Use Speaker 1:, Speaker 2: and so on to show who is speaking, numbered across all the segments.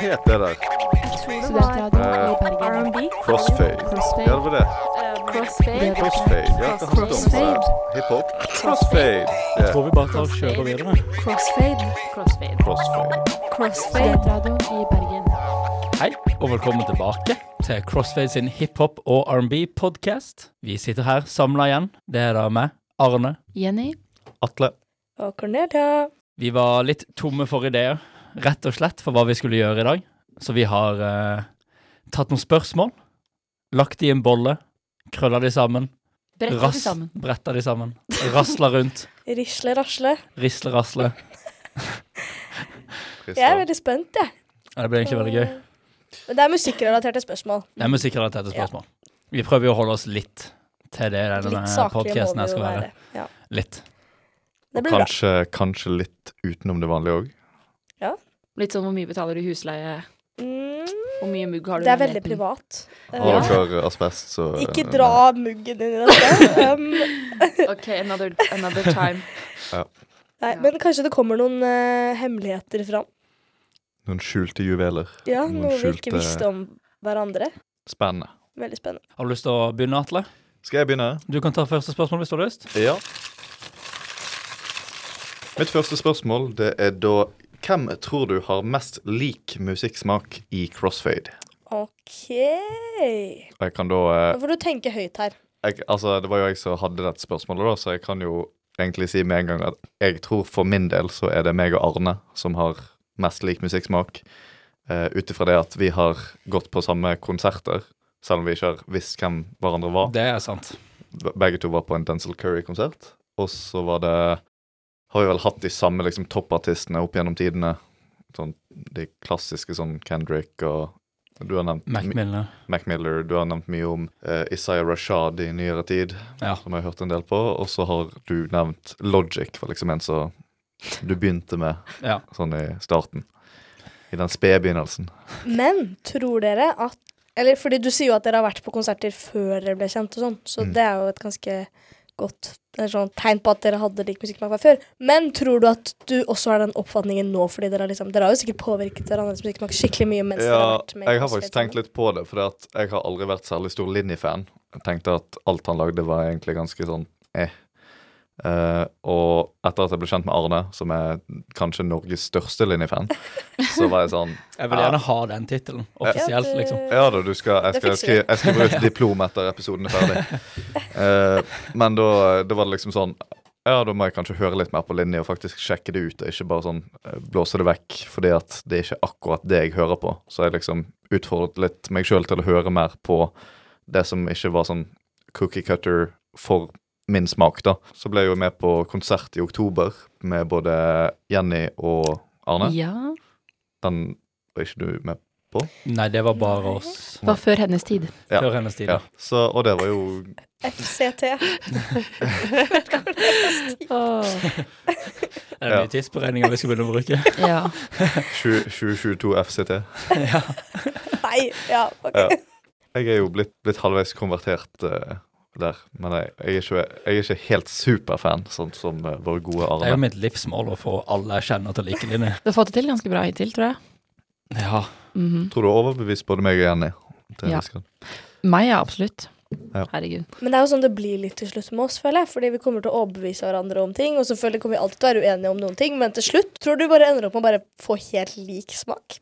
Speaker 1: het det der?
Speaker 2: Studentradioen i Bergen.
Speaker 3: R&B,
Speaker 1: Crossfade. Ja, det
Speaker 2: Crossfade.
Speaker 1: var det.
Speaker 3: crossfade,
Speaker 2: Det-
Speaker 1: Crossfade. Ja, hva handler det om?
Speaker 3: Crossfade.
Speaker 1: Hiphop? Crossfade. Ja,
Speaker 4: Tror vi bare tar og kjører videre.
Speaker 3: crossfade, crossfade,
Speaker 1: crossfade.
Speaker 3: crossfade.
Speaker 2: Studentradioen i Bergen.
Speaker 4: Hei, og velkommen tilbake til Crossfade sin hiphop- og R&B-podkast. Vi sitter her samla igjen. Det er da meg, Arne.
Speaker 2: Jenny.
Speaker 4: Atle.
Speaker 3: Og Cornelia.
Speaker 4: Vi var litt tomme for ideer, rett og slett, for hva vi skulle gjøre i dag. Så vi har eh, tatt noen spørsmål, lagt de i en bolle, krølla de sammen,
Speaker 2: Bretter
Speaker 4: rass-
Speaker 2: vi sammen.
Speaker 4: bretta de sammen, rasla rundt,
Speaker 3: Risle, rasle.
Speaker 4: risle, rasle.
Speaker 3: Jeg er
Speaker 1: Christian.
Speaker 3: veldig spent, jeg.
Speaker 4: Ja, Det blir egentlig veldig gøy.
Speaker 3: Men det er musikkrelaterte spørsmål.
Speaker 4: Det er musikkrelaterte spørsmål. Vi prøver jo å holde oss litt til det denne
Speaker 3: Litt saklige
Speaker 4: podkasten
Speaker 3: må
Speaker 4: her
Speaker 3: vi jo
Speaker 4: skal være.
Speaker 3: være. Ja.
Speaker 4: Litt.
Speaker 3: Det blir bra.
Speaker 1: Kanskje, kanskje litt utenom det vanlige òg.
Speaker 2: Litt sånn hvor mye betaler du i husleie,
Speaker 3: Mm,
Speaker 2: hvor mye mugg har du i
Speaker 3: det er
Speaker 2: leiligheten?
Speaker 3: veldig privat.
Speaker 1: Har
Speaker 3: Eh,
Speaker 1: dere asbest, så eh,
Speaker 3: Ikke dra muggen din i dette. Um,
Speaker 2: Ok, another, another time. Ja.
Speaker 3: nei, men kanskje det kommer noen eh, hemmeligheter fram.
Speaker 1: Noen skjulte juveler.
Speaker 3: Ja,
Speaker 1: Noen
Speaker 3: Noe vi
Speaker 1: skjulte-
Speaker 3: ikke visste om hverandre.
Speaker 1: Spennende.
Speaker 3: Veldig spennende.
Speaker 4: Har du lyst til å begynne, Atle?
Speaker 1: Skal jeg begynne?
Speaker 4: Du kan ta første spørsmål hvis du har lyst.
Speaker 1: Ja. Mitt første spørsmål det er da Hvem tror du har mest lik musikksmak i crossfade?
Speaker 3: OK.
Speaker 1: Og Jeg kan da
Speaker 3: Nå
Speaker 1: eh,
Speaker 3: får du tenke høyt her.
Speaker 1: jeg, Altså, det var jo jeg som hadde dette spørsmålet, da, så jeg kan jo egentlig si med en gang at jeg tror for min del så er det meg og Arne som har mest lik musikksmak. Uh, Ut ifra det at vi har gått på samme konserter, selv om vi ikke har visst hvem hverandre var.
Speaker 4: Det er sant.
Speaker 1: Be- begge to var på en Denzil Curry-konsert. Og så var det Har vi vel hatt de samme liksom, toppartistene opp gjennom tidene. Sånn, de klassiske sånn Kendrick og Du har nevnt
Speaker 4: Mac
Speaker 1: mi-
Speaker 4: Milner.
Speaker 1: Mac Miller. Du har nevnt mye om uh, Isaiah Rashad i nyere tid,
Speaker 4: Ja.
Speaker 1: som jeg har hørt en del på. Og så har du nevnt Logic, var liksom en som du begynte med
Speaker 4: Ja.
Speaker 1: sånn i starten. I den spede begynnelsen.
Speaker 3: Men tror dere at Eller fordi du sier jo at dere har vært på konserter før dere ble kjent og sånn, så
Speaker 1: Mm.
Speaker 3: det er jo et ganske godt eller sånn, tegn på at dere hadde lik musikksmak fra før. Men tror du at du også har den oppfatningen nå, fordi dere har liksom Dere har jo sikkert påvirket hverandres musikksmak skikkelig mye mens dere har
Speaker 1: Ja,
Speaker 3: vært med. i
Speaker 1: jeg har
Speaker 3: Crossfade
Speaker 1: faktisk tenkt
Speaker 3: sammen.
Speaker 1: litt på det, for det at jeg har aldri vært særlig stor Linni-fan. Jeg tenkte at alt han lagde, var egentlig ganske sånn eh. Eh, og etter at jeg ble kjent med Arne, som er kanskje Norges største Linni-fan, så var jeg sånn
Speaker 4: Jeg vil gjerne ha den tittelen offisielt,
Speaker 3: Ja,
Speaker 4: liksom.
Speaker 3: det-
Speaker 1: Ja da, du skal, jeg,
Speaker 3: Det
Speaker 1: skal,
Speaker 3: fikser vi.
Speaker 1: skrive, jeg skriver ut diplom etter episoden er ferdig. Eh, men da, da var det liksom sånn Ja, da må jeg kanskje høre litt mer på linje og faktisk sjekke det ut, og ikke bare sånn eh, blåse det vekk, fordi at det er ikke akkurat det jeg hører på. Så jeg liksom utfordret litt meg sjøl til å høre mer på det som ikke var sånn cookie cutter for min smak, da. Så ble jeg jo med på konsert i oktober med både Jenny og Arne.
Speaker 2: Ja,
Speaker 1: Den var ikke du med
Speaker 4: Nei, det var bare oss
Speaker 2: var før hennes tid.
Speaker 1: Ja.
Speaker 4: før hennes tid.
Speaker 1: Ja.
Speaker 4: Ja.
Speaker 1: Så, og det var jo
Speaker 3: FCT.
Speaker 4: Er det nye tidsberegninger vi skal begynne å bruke?
Speaker 2: Ja.
Speaker 1: 20- 2022 FCT.
Speaker 4: ja.
Speaker 3: Nei, ja, ok.
Speaker 1: Ja. Jeg er jo blitt, blitt halvveis konvertert eh, der, men jeg, jeg, er ikke, jeg er ikke helt superfan, sånn som eh, vår gode
Speaker 4: Det er jo
Speaker 1: Arne.
Speaker 4: mitt livsmål å få alle jeg kjenner til å like linje.
Speaker 2: Du har fått det til ganske bra hittil, tror jeg.
Speaker 4: Ja.
Speaker 2: Mhm.
Speaker 1: Tror du har overbevist både meg og Jenny? til en
Speaker 2: Ja.
Speaker 1: viss grad.
Speaker 2: Meg, ja, absolutt.
Speaker 1: Ja.
Speaker 2: Herregud.
Speaker 3: Men det er jo sånn det blir litt til slutt med oss, føler jeg. Fordi vi kommer til å overbevise hverandre om ting, og selvfølgelig kommer vi alltid til å være uenige om noen ting, men til slutt tror du bare ender opp med å bare få helt lik smak.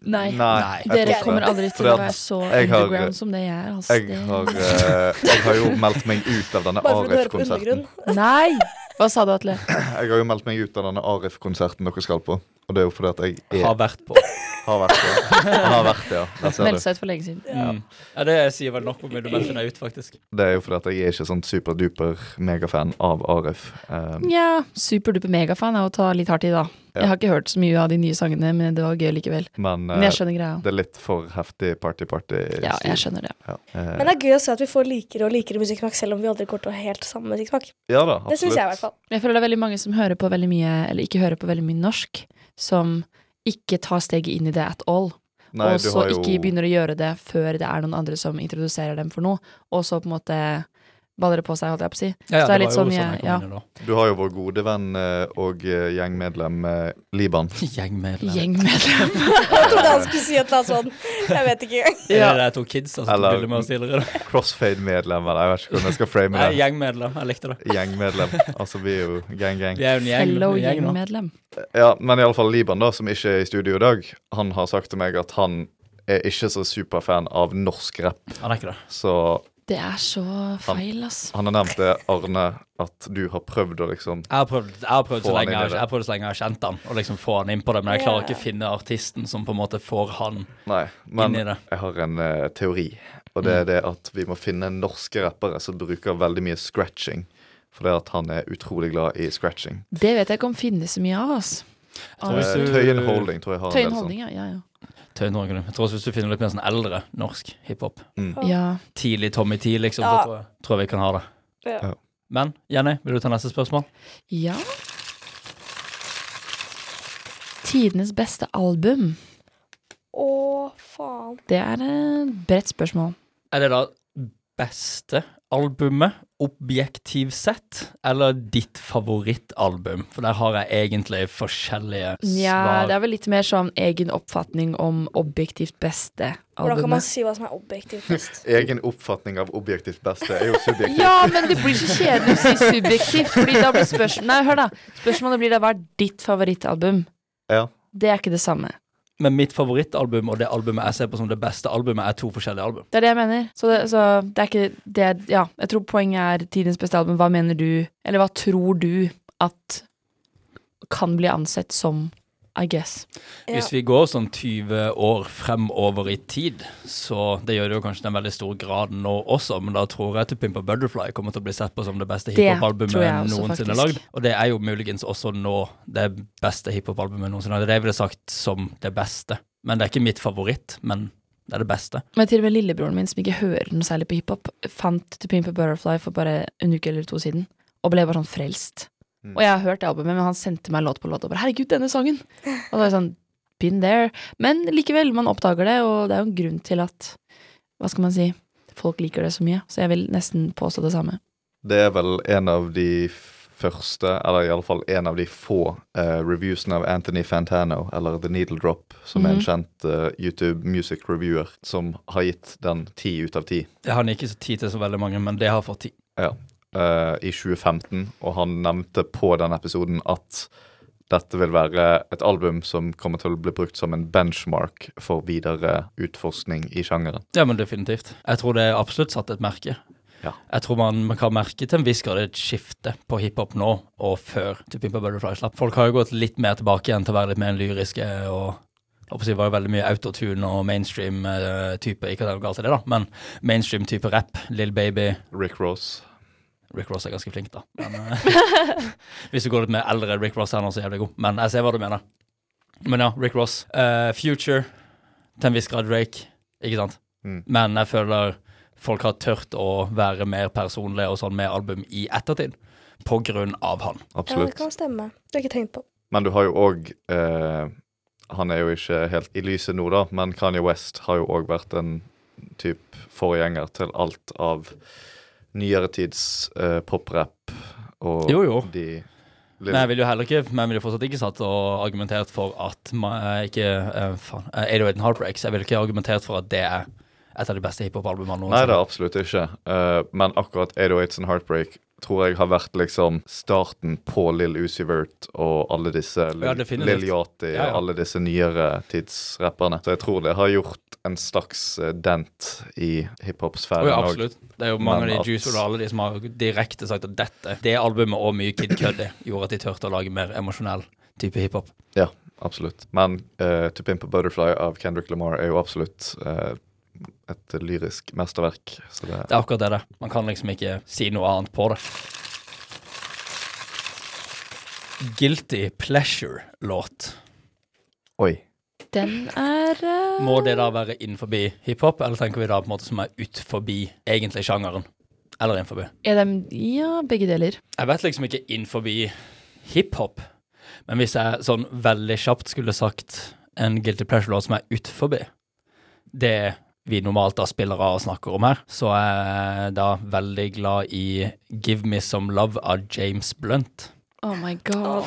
Speaker 2: Nei.
Speaker 1: Nei, jeg tror
Speaker 2: Dere
Speaker 1: ikke
Speaker 2: kommer
Speaker 1: det.
Speaker 2: aldri til
Speaker 1: Fordi
Speaker 2: å
Speaker 1: at
Speaker 2: være så
Speaker 1: jeg har-
Speaker 2: underground som det jeg er. Altså,
Speaker 1: Jeg
Speaker 2: det-
Speaker 1: har, eh, jeg har jo meldt meg ut av denne
Speaker 3: Bare for å høre på
Speaker 1: Arif-konserten.
Speaker 3: undergrunn.
Speaker 2: Nei! Hva sa du, Atle?
Speaker 1: Jeg har jo meldt meg ut av denne Arif-konserten dere skal på. Og det er jo fordi at jeg
Speaker 4: Har
Speaker 1: er,
Speaker 4: vært på.
Speaker 1: har vært det. Jeg Har vært det, ja. Der ser
Speaker 2: Meldte
Speaker 1: du.
Speaker 2: seg ut for lenge siden.
Speaker 4: Mm. Ja, det sier vel nok om hvor mye du meldte deg ut, faktisk.
Speaker 1: Det er jo fordi at jeg er ikke sånn superduper megafan av Arif. Eh,
Speaker 2: Nja, superduper megafan er å ta litt hardt i, da.
Speaker 1: Ja.
Speaker 2: Jeg har ikke hørt så mye av de nye sangene, men det var gøy likevel.
Speaker 1: men
Speaker 2: Men
Speaker 1: eh,
Speaker 2: jeg skjønner greia.
Speaker 1: det er litt for heftig party-party-stil.
Speaker 2: Ja, jeg skjønner det.
Speaker 1: Ja. Eh,
Speaker 3: Men det er gøy å se at vi får likere og likere musikksmak, selv om vi aldri går til å ha helt samme musikksmak.
Speaker 1: ja da,
Speaker 3: Det syns jeg i
Speaker 1: absolutt.
Speaker 3: hvert fall.
Speaker 2: Jeg føler det er veldig mange som hører på veldig mye, eller ikke hører på veldig mye norsk, som ikke tar steget inn i det at all.
Speaker 1: Nei,
Speaker 2: og
Speaker 1: du
Speaker 2: så
Speaker 1: har jo-
Speaker 2: ikke begynner å gjøre det før det er noen andre som introduserer dem for noe. Og så på en måte baller det på seg, holdt jeg på å si.
Speaker 4: Ja,
Speaker 2: Så
Speaker 4: ja,
Speaker 2: det er
Speaker 4: var
Speaker 2: litt
Speaker 4: jo
Speaker 2: sånn jeg-
Speaker 4: kom
Speaker 2: ja.
Speaker 4: inn i det da.
Speaker 1: Du har jo vår gode venn eh, og eh, gjengmedlem eh, Liban.
Speaker 4: Gjengmedlem.
Speaker 2: Gjengmedlem.
Speaker 3: Jeg trodde han skulle si et eller annet sånn. Jeg vet ikke engang.
Speaker 4: Er
Speaker 2: Ja.
Speaker 4: det der to kids altså, som
Speaker 1: Eller-
Speaker 4: tok bilde med oss tidligere? da?
Speaker 1: Crossfade-medlem, eller jeg vet ikke hvordan jeg skal frame
Speaker 4: Nei,
Speaker 1: det.
Speaker 4: gjengmedlem. Jeg likte det.
Speaker 1: Gjengmedlem. Altså, vi er jo gang-gang.
Speaker 4: Vi er jo en gjeng,
Speaker 2: Fellow
Speaker 4: gjeng nå.
Speaker 2: gjengmedlem.
Speaker 1: Ja, men iallfall Liban, da, som ikke er i studio i dag, han har sagt til meg at han er ikke så superfan av norsk rapp,
Speaker 4: Han er ikke det.
Speaker 1: så
Speaker 2: Det er så feil, ass.
Speaker 1: han har nevnt det, Arne, at du har prøvd å liksom
Speaker 4: Jeg har prøvd, jeg har prøvd
Speaker 1: Få
Speaker 4: så
Speaker 1: han inn i
Speaker 4: lenge jeg, har-
Speaker 1: det.
Speaker 4: jeg har prøvd så lenge jeg har kjent han, og liksom få han inn på det, men jeg klarer
Speaker 3: Ja.
Speaker 4: ikke å finne artisten som på en måte får han
Speaker 1: Nei. Men
Speaker 4: inn i det.
Speaker 1: jeg har en eh, teori, og
Speaker 4: Mm.
Speaker 1: det er det at vi må finne norske rappere som bruker veldig mye scratching. For det at han er utrolig glad i scratching.
Speaker 2: Det vet jeg ikke om finnes så mye av, ass.
Speaker 4: tror
Speaker 1: Eh,
Speaker 4: hvis du-
Speaker 1: Tøyen Holding tror jeg har
Speaker 2: Tøyen
Speaker 1: en del sånn.
Speaker 2: holdning, ja. Ja, ja.
Speaker 4: Tøyen Norge, Jeg tror også hvis du finner litt mer sånn eldre norsk hiphop,
Speaker 2: ja.
Speaker 4: tidlig Tommy T, liksom,
Speaker 3: Ja.
Speaker 4: så tror jeg, tror jeg vi kan ha det.
Speaker 3: Ja.
Speaker 1: Ja.
Speaker 4: Men Jenny, vil du ta neste spørsmål?
Speaker 2: Ja. Tidenes beste album.
Speaker 3: Å, faen.
Speaker 2: Det er et bredt spørsmål.
Speaker 4: Er det da beste albumet objektiv sett, eller ditt favorittalbum? For der har jeg egentlig forskjellige
Speaker 2: Ja,
Speaker 4: svar.
Speaker 2: det er vel litt mer sånn egen oppfatning om objektivt beste
Speaker 3: Hvordan kan man
Speaker 2: albumet.
Speaker 3: si hva som er objektivt best?
Speaker 1: Egen oppfatning av objektivt beste er jo subjektivt.
Speaker 2: Ja, men det blir så kjedelig å si subjektivt, fordi da blir spørsmålet Nei, hør da. Spørsmålet blir da hva er ditt favorittalbum?
Speaker 1: Ja.
Speaker 2: Det er ikke det samme.
Speaker 4: Men mitt favorittalbum og det albumet jeg ser på som det beste albumet, er to forskjellige album.
Speaker 2: Det er det jeg mener. Så det, så det er ikke det er- Ja, jeg tror poenget er tidens beste album. Hva mener du, eller hva tror du at kan bli ansett som I guess?
Speaker 3: Ja.
Speaker 4: Hvis vi går sånn 20 år fremover i tid, så det gjør det jo kanskje til en veldig stor grad nå også, men da tror jeg til Pimpa Butterfly kommer til å bli sett på som det
Speaker 2: Det
Speaker 4: beste
Speaker 2: tror jeg
Speaker 4: hiphop-albumet
Speaker 2: også,
Speaker 4: noensinne
Speaker 2: faktisk.
Speaker 4: lagd. Og det er jo muligens også nå det beste hiphop-albumet noensinne lagd. Det er vel sagt som det beste, men det er ikke mitt favoritt, men det er det beste.
Speaker 2: Men til og med lillebroren min, som ikke hører noe særlig på hiphop, fant To Pimp a Butterfly for bare en uke eller to siden, og ble bare sånn frelst.
Speaker 1: Mm.
Speaker 2: Og jeg har hørt det albumet, men han sendte meg låt på låt og bare 'herregud, denne sangen'. Og da er jeg sånn Been there. Men likevel, man oppdager det, og det er jo en grunn til at Hva skal man si? Folk liker det så mye, så jeg vil nesten påstå det samme.
Speaker 1: Det er vel en av de første, eller iallfall en av de få, eh, reviewsene av Anthony Fantano, eller The Needle Drop, som er
Speaker 2: Mhm.
Speaker 1: en kjent eh, YouTube music reviewer, som har gitt den ti ut av ti
Speaker 4: Det har han ikke så tid til så veldig mange, men det har fått tid.
Speaker 1: eh, i 2015. Og han nevnte på den episoden at dette vil være et album som kommer til å bli brukt som en benchmark for videre utforskning i sjangeren.
Speaker 4: Ja, men definitivt. Jeg tror det er absolutt satt et merke.
Speaker 1: Ja.
Speaker 4: Jeg tror man, man kan merke til en viss grad et skifte på hiphop nå og før To Pimp a Butterfly slapp. Folk har jo gått litt mer tilbake igjen til å være litt mer lyriske og jeg håper å si, det var jo veldig mye autotune og mainstream-type, ikke at det er noe galt i det, da, men mainstream-type rap. Lill Baby.
Speaker 1: Rick Ross.
Speaker 4: Rick Ross er ganske flink, da. Men, eh, hvis du går litt mer eldre, Rick Ross er han også jævlig god. Men jeg ser hva du mener. Men ja, Rick Ross. Eh, Future. Til en viss grad Drake. Ikke sant?
Speaker 1: Mm.
Speaker 4: Men jeg føler folk har tørt å være mer personlige og sånn med album i ettertid. På grunn av han.
Speaker 3: Ja, det
Speaker 1: Absolutt.
Speaker 3: kan stemme. Det har jeg ikke tenkt på.
Speaker 1: Men du har jo òg eh, Han er jo ikke helt i lyset nå, da, men Kanye West har jo òg vært en typ forgjenger til alt av nyere tids eh, poprap og
Speaker 4: Jo, jo.
Speaker 1: de
Speaker 4: Men jeg vil jo heller ikke Men jeg ville fortsatt ikke satt og argumentert for at ma- eh, ikke eh, Faen. eh, 808 and Heartbreaks. Jeg ville ikke argumentert for at det er et av de beste
Speaker 1: Nei,
Speaker 4: hiphop-albumene
Speaker 1: det
Speaker 4: noensinne.
Speaker 1: er absolutt ikke. Eh, men akkurat 808s and Heartbreak tror jeg har vært liksom starten på Lill Uzi Vert og alle disse Lil,
Speaker 4: Ja, definitivt.
Speaker 1: Lil Yachty
Speaker 4: Ja, ja.
Speaker 1: og alle disse nyere tidsrapperne. Så jeg tror det har gjort en slags eh, dent i
Speaker 4: Å
Speaker 1: hiphop-sfæren
Speaker 4: ja,
Speaker 1: òg.
Speaker 4: absolutt. Det er jo mange
Speaker 1: Men
Speaker 4: av
Speaker 1: at-
Speaker 4: de Juice og alle de som har direkte sagt at dette, det albumet og mye Kid Cudi gjorde at de turte å lage mer emosjonell type hiphop.
Speaker 1: Absolutt. Men eh, To Pimp a Butterfly av Kendrick Lamar er jo absolutt eh, et lyrisk mesterverk. Så det,
Speaker 4: Det er akkurat det det. er. Man kan liksom ikke si noe annet på det. Guilty pleasure-låt.
Speaker 1: Oi.
Speaker 2: Den er eh,
Speaker 4: Må det da være innenfor hiphop, eller tenker vi da på en måte som er utenfor egentlig sjangeren? Eller innenfor?
Speaker 2: eh, er dem, Ja, begge deler.
Speaker 4: Jeg vet liksom ikke innenfor hiphop, men hvis jeg sånn veldig kjapt skulle sagt en guilty pleasure-låt som er utenfor, det er vi normalt da spiller av og snakker om her, så er jeg da veldig glad i Give Me Some Love av James Blunt.
Speaker 2: Oh my god.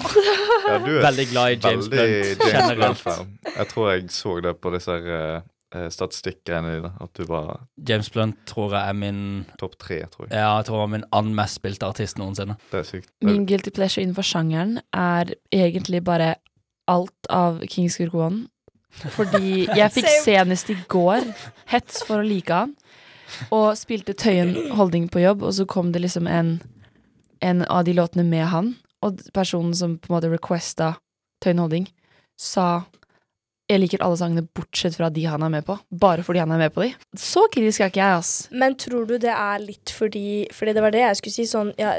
Speaker 1: Ja, du er
Speaker 4: Veldig glad i James
Speaker 1: veldig
Speaker 4: Blunt,
Speaker 1: James
Speaker 4: generelt.
Speaker 1: Blunt-fan. Jeg tror jeg så det på disse her, eh, statistikkgreiene dine, at du var
Speaker 4: James Blunt tror jeg er min
Speaker 1: topp tre, tror jeg.
Speaker 4: ja, jeg tror han er min annen mest spilte artist noensinne.
Speaker 1: Det er sykt.
Speaker 2: Min guilty pleasure innenfor sjangeren er egentlig bare alt av Kings Gurk One. Fordi jeg fikk
Speaker 3: Same.
Speaker 2: senest i går hets for å like han. Og spilte Tøyen Holding på jobb, og så kom det liksom en, en av de låtene med han. Og personen som på en måte requesta Tøyen Holding, sa jeg liker alle sangene bortsett fra de han er med på. Bare fordi han er med på de. Så kritisk er ikke jeg, ass.
Speaker 3: Men tror du det er litt fordi Fordi det var det jeg skulle si. Sånn, ja,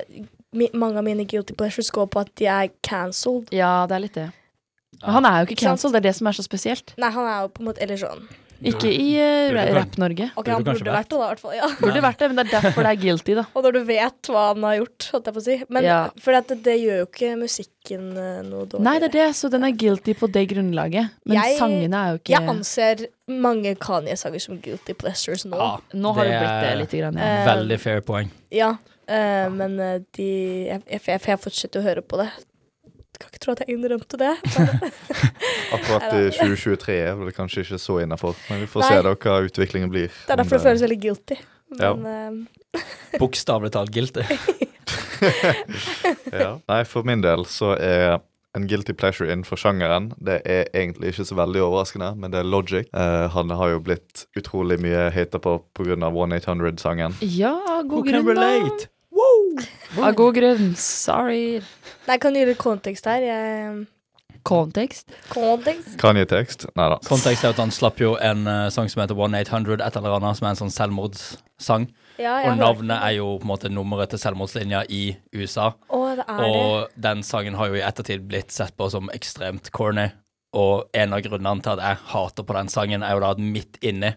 Speaker 3: mi, mange av mine guilty pleasures går på at de er cancelled.
Speaker 2: Ja, det er litt det. Men han er jo ikke
Speaker 3: Ikke sant?
Speaker 2: cancelled, det er det som er så spesielt.
Speaker 3: Nei, han er jo på en måte Eller sånn.
Speaker 2: Ikke i eh,
Speaker 4: Burde
Speaker 2: ra-
Speaker 4: kan-
Speaker 2: Rapp-Norge.
Speaker 3: Ok,
Speaker 4: Burde
Speaker 3: han
Speaker 4: kanskje
Speaker 3: burde vært det, da, i hvert fall. Ja.
Speaker 2: Burde vært det, men det er derfor det er guilty, da.
Speaker 3: Og når du vet hva han har gjort, holdt jeg på å si. Men
Speaker 2: Ja.
Speaker 3: fordi at det, det gjør jo ikke musikken eh, noe dårligere.
Speaker 2: Nei, det er det, så den er guilty på det grunnlaget. Men
Speaker 3: Jeg-
Speaker 2: sangene er jo ikke
Speaker 3: Jeg anser mange Kanye-sanger som guilty pleasures nå.
Speaker 4: Ja,
Speaker 2: Nå har det
Speaker 4: det
Speaker 2: blitt det
Speaker 4: er-
Speaker 2: lite grann, ja.
Speaker 3: Eh,
Speaker 4: veldig fair poeng.
Speaker 3: Ja, eh, men eh, de jeg, jeg, jeg, jeg fortsetter å høre på det. Jeg kan ikke tro at jeg innrømte det.
Speaker 1: Eh, Akkurat i 2023 er vel kanskje ikke så innafor, men vi får
Speaker 3: Nei.
Speaker 1: se da hva utviklingen blir.
Speaker 3: Det er
Speaker 1: Om
Speaker 3: derfor det føles veldig guilty. Men eh,
Speaker 4: Bokstavelig talt guilty.
Speaker 1: eh, ja. Nei, for min del så er en guilty pleasure innenfor sjangeren. Det er egentlig ikke så veldig overraskende, men det er Logic. Eh, han har jo blitt utrolig mye hata på pga. 1800-sangen.
Speaker 2: Ja, av god grunn, da. Av god grunn. Sorry.
Speaker 3: nei, kan du gi litt kontekst her? Jeg,
Speaker 2: Kontekst.
Speaker 3: kontekst?
Speaker 1: Kanye-tekst? Nei da.
Speaker 4: Kontekst er at han slapp jo en eh, sang som heter 1800, et eller annet, som er en sånn selvmordssang.
Speaker 3: Ja, jeg
Speaker 4: Og
Speaker 3: har
Speaker 4: navnet
Speaker 3: hørt
Speaker 4: er jo på en måte nummeret til selvmordslinja i USA.
Speaker 3: den. Å, det er det.
Speaker 4: Og den sangen har jo i ettertid blitt sett på som ekstremt corny. Og en av grunnene til at jeg hater på den sangen, er jo da at midt inni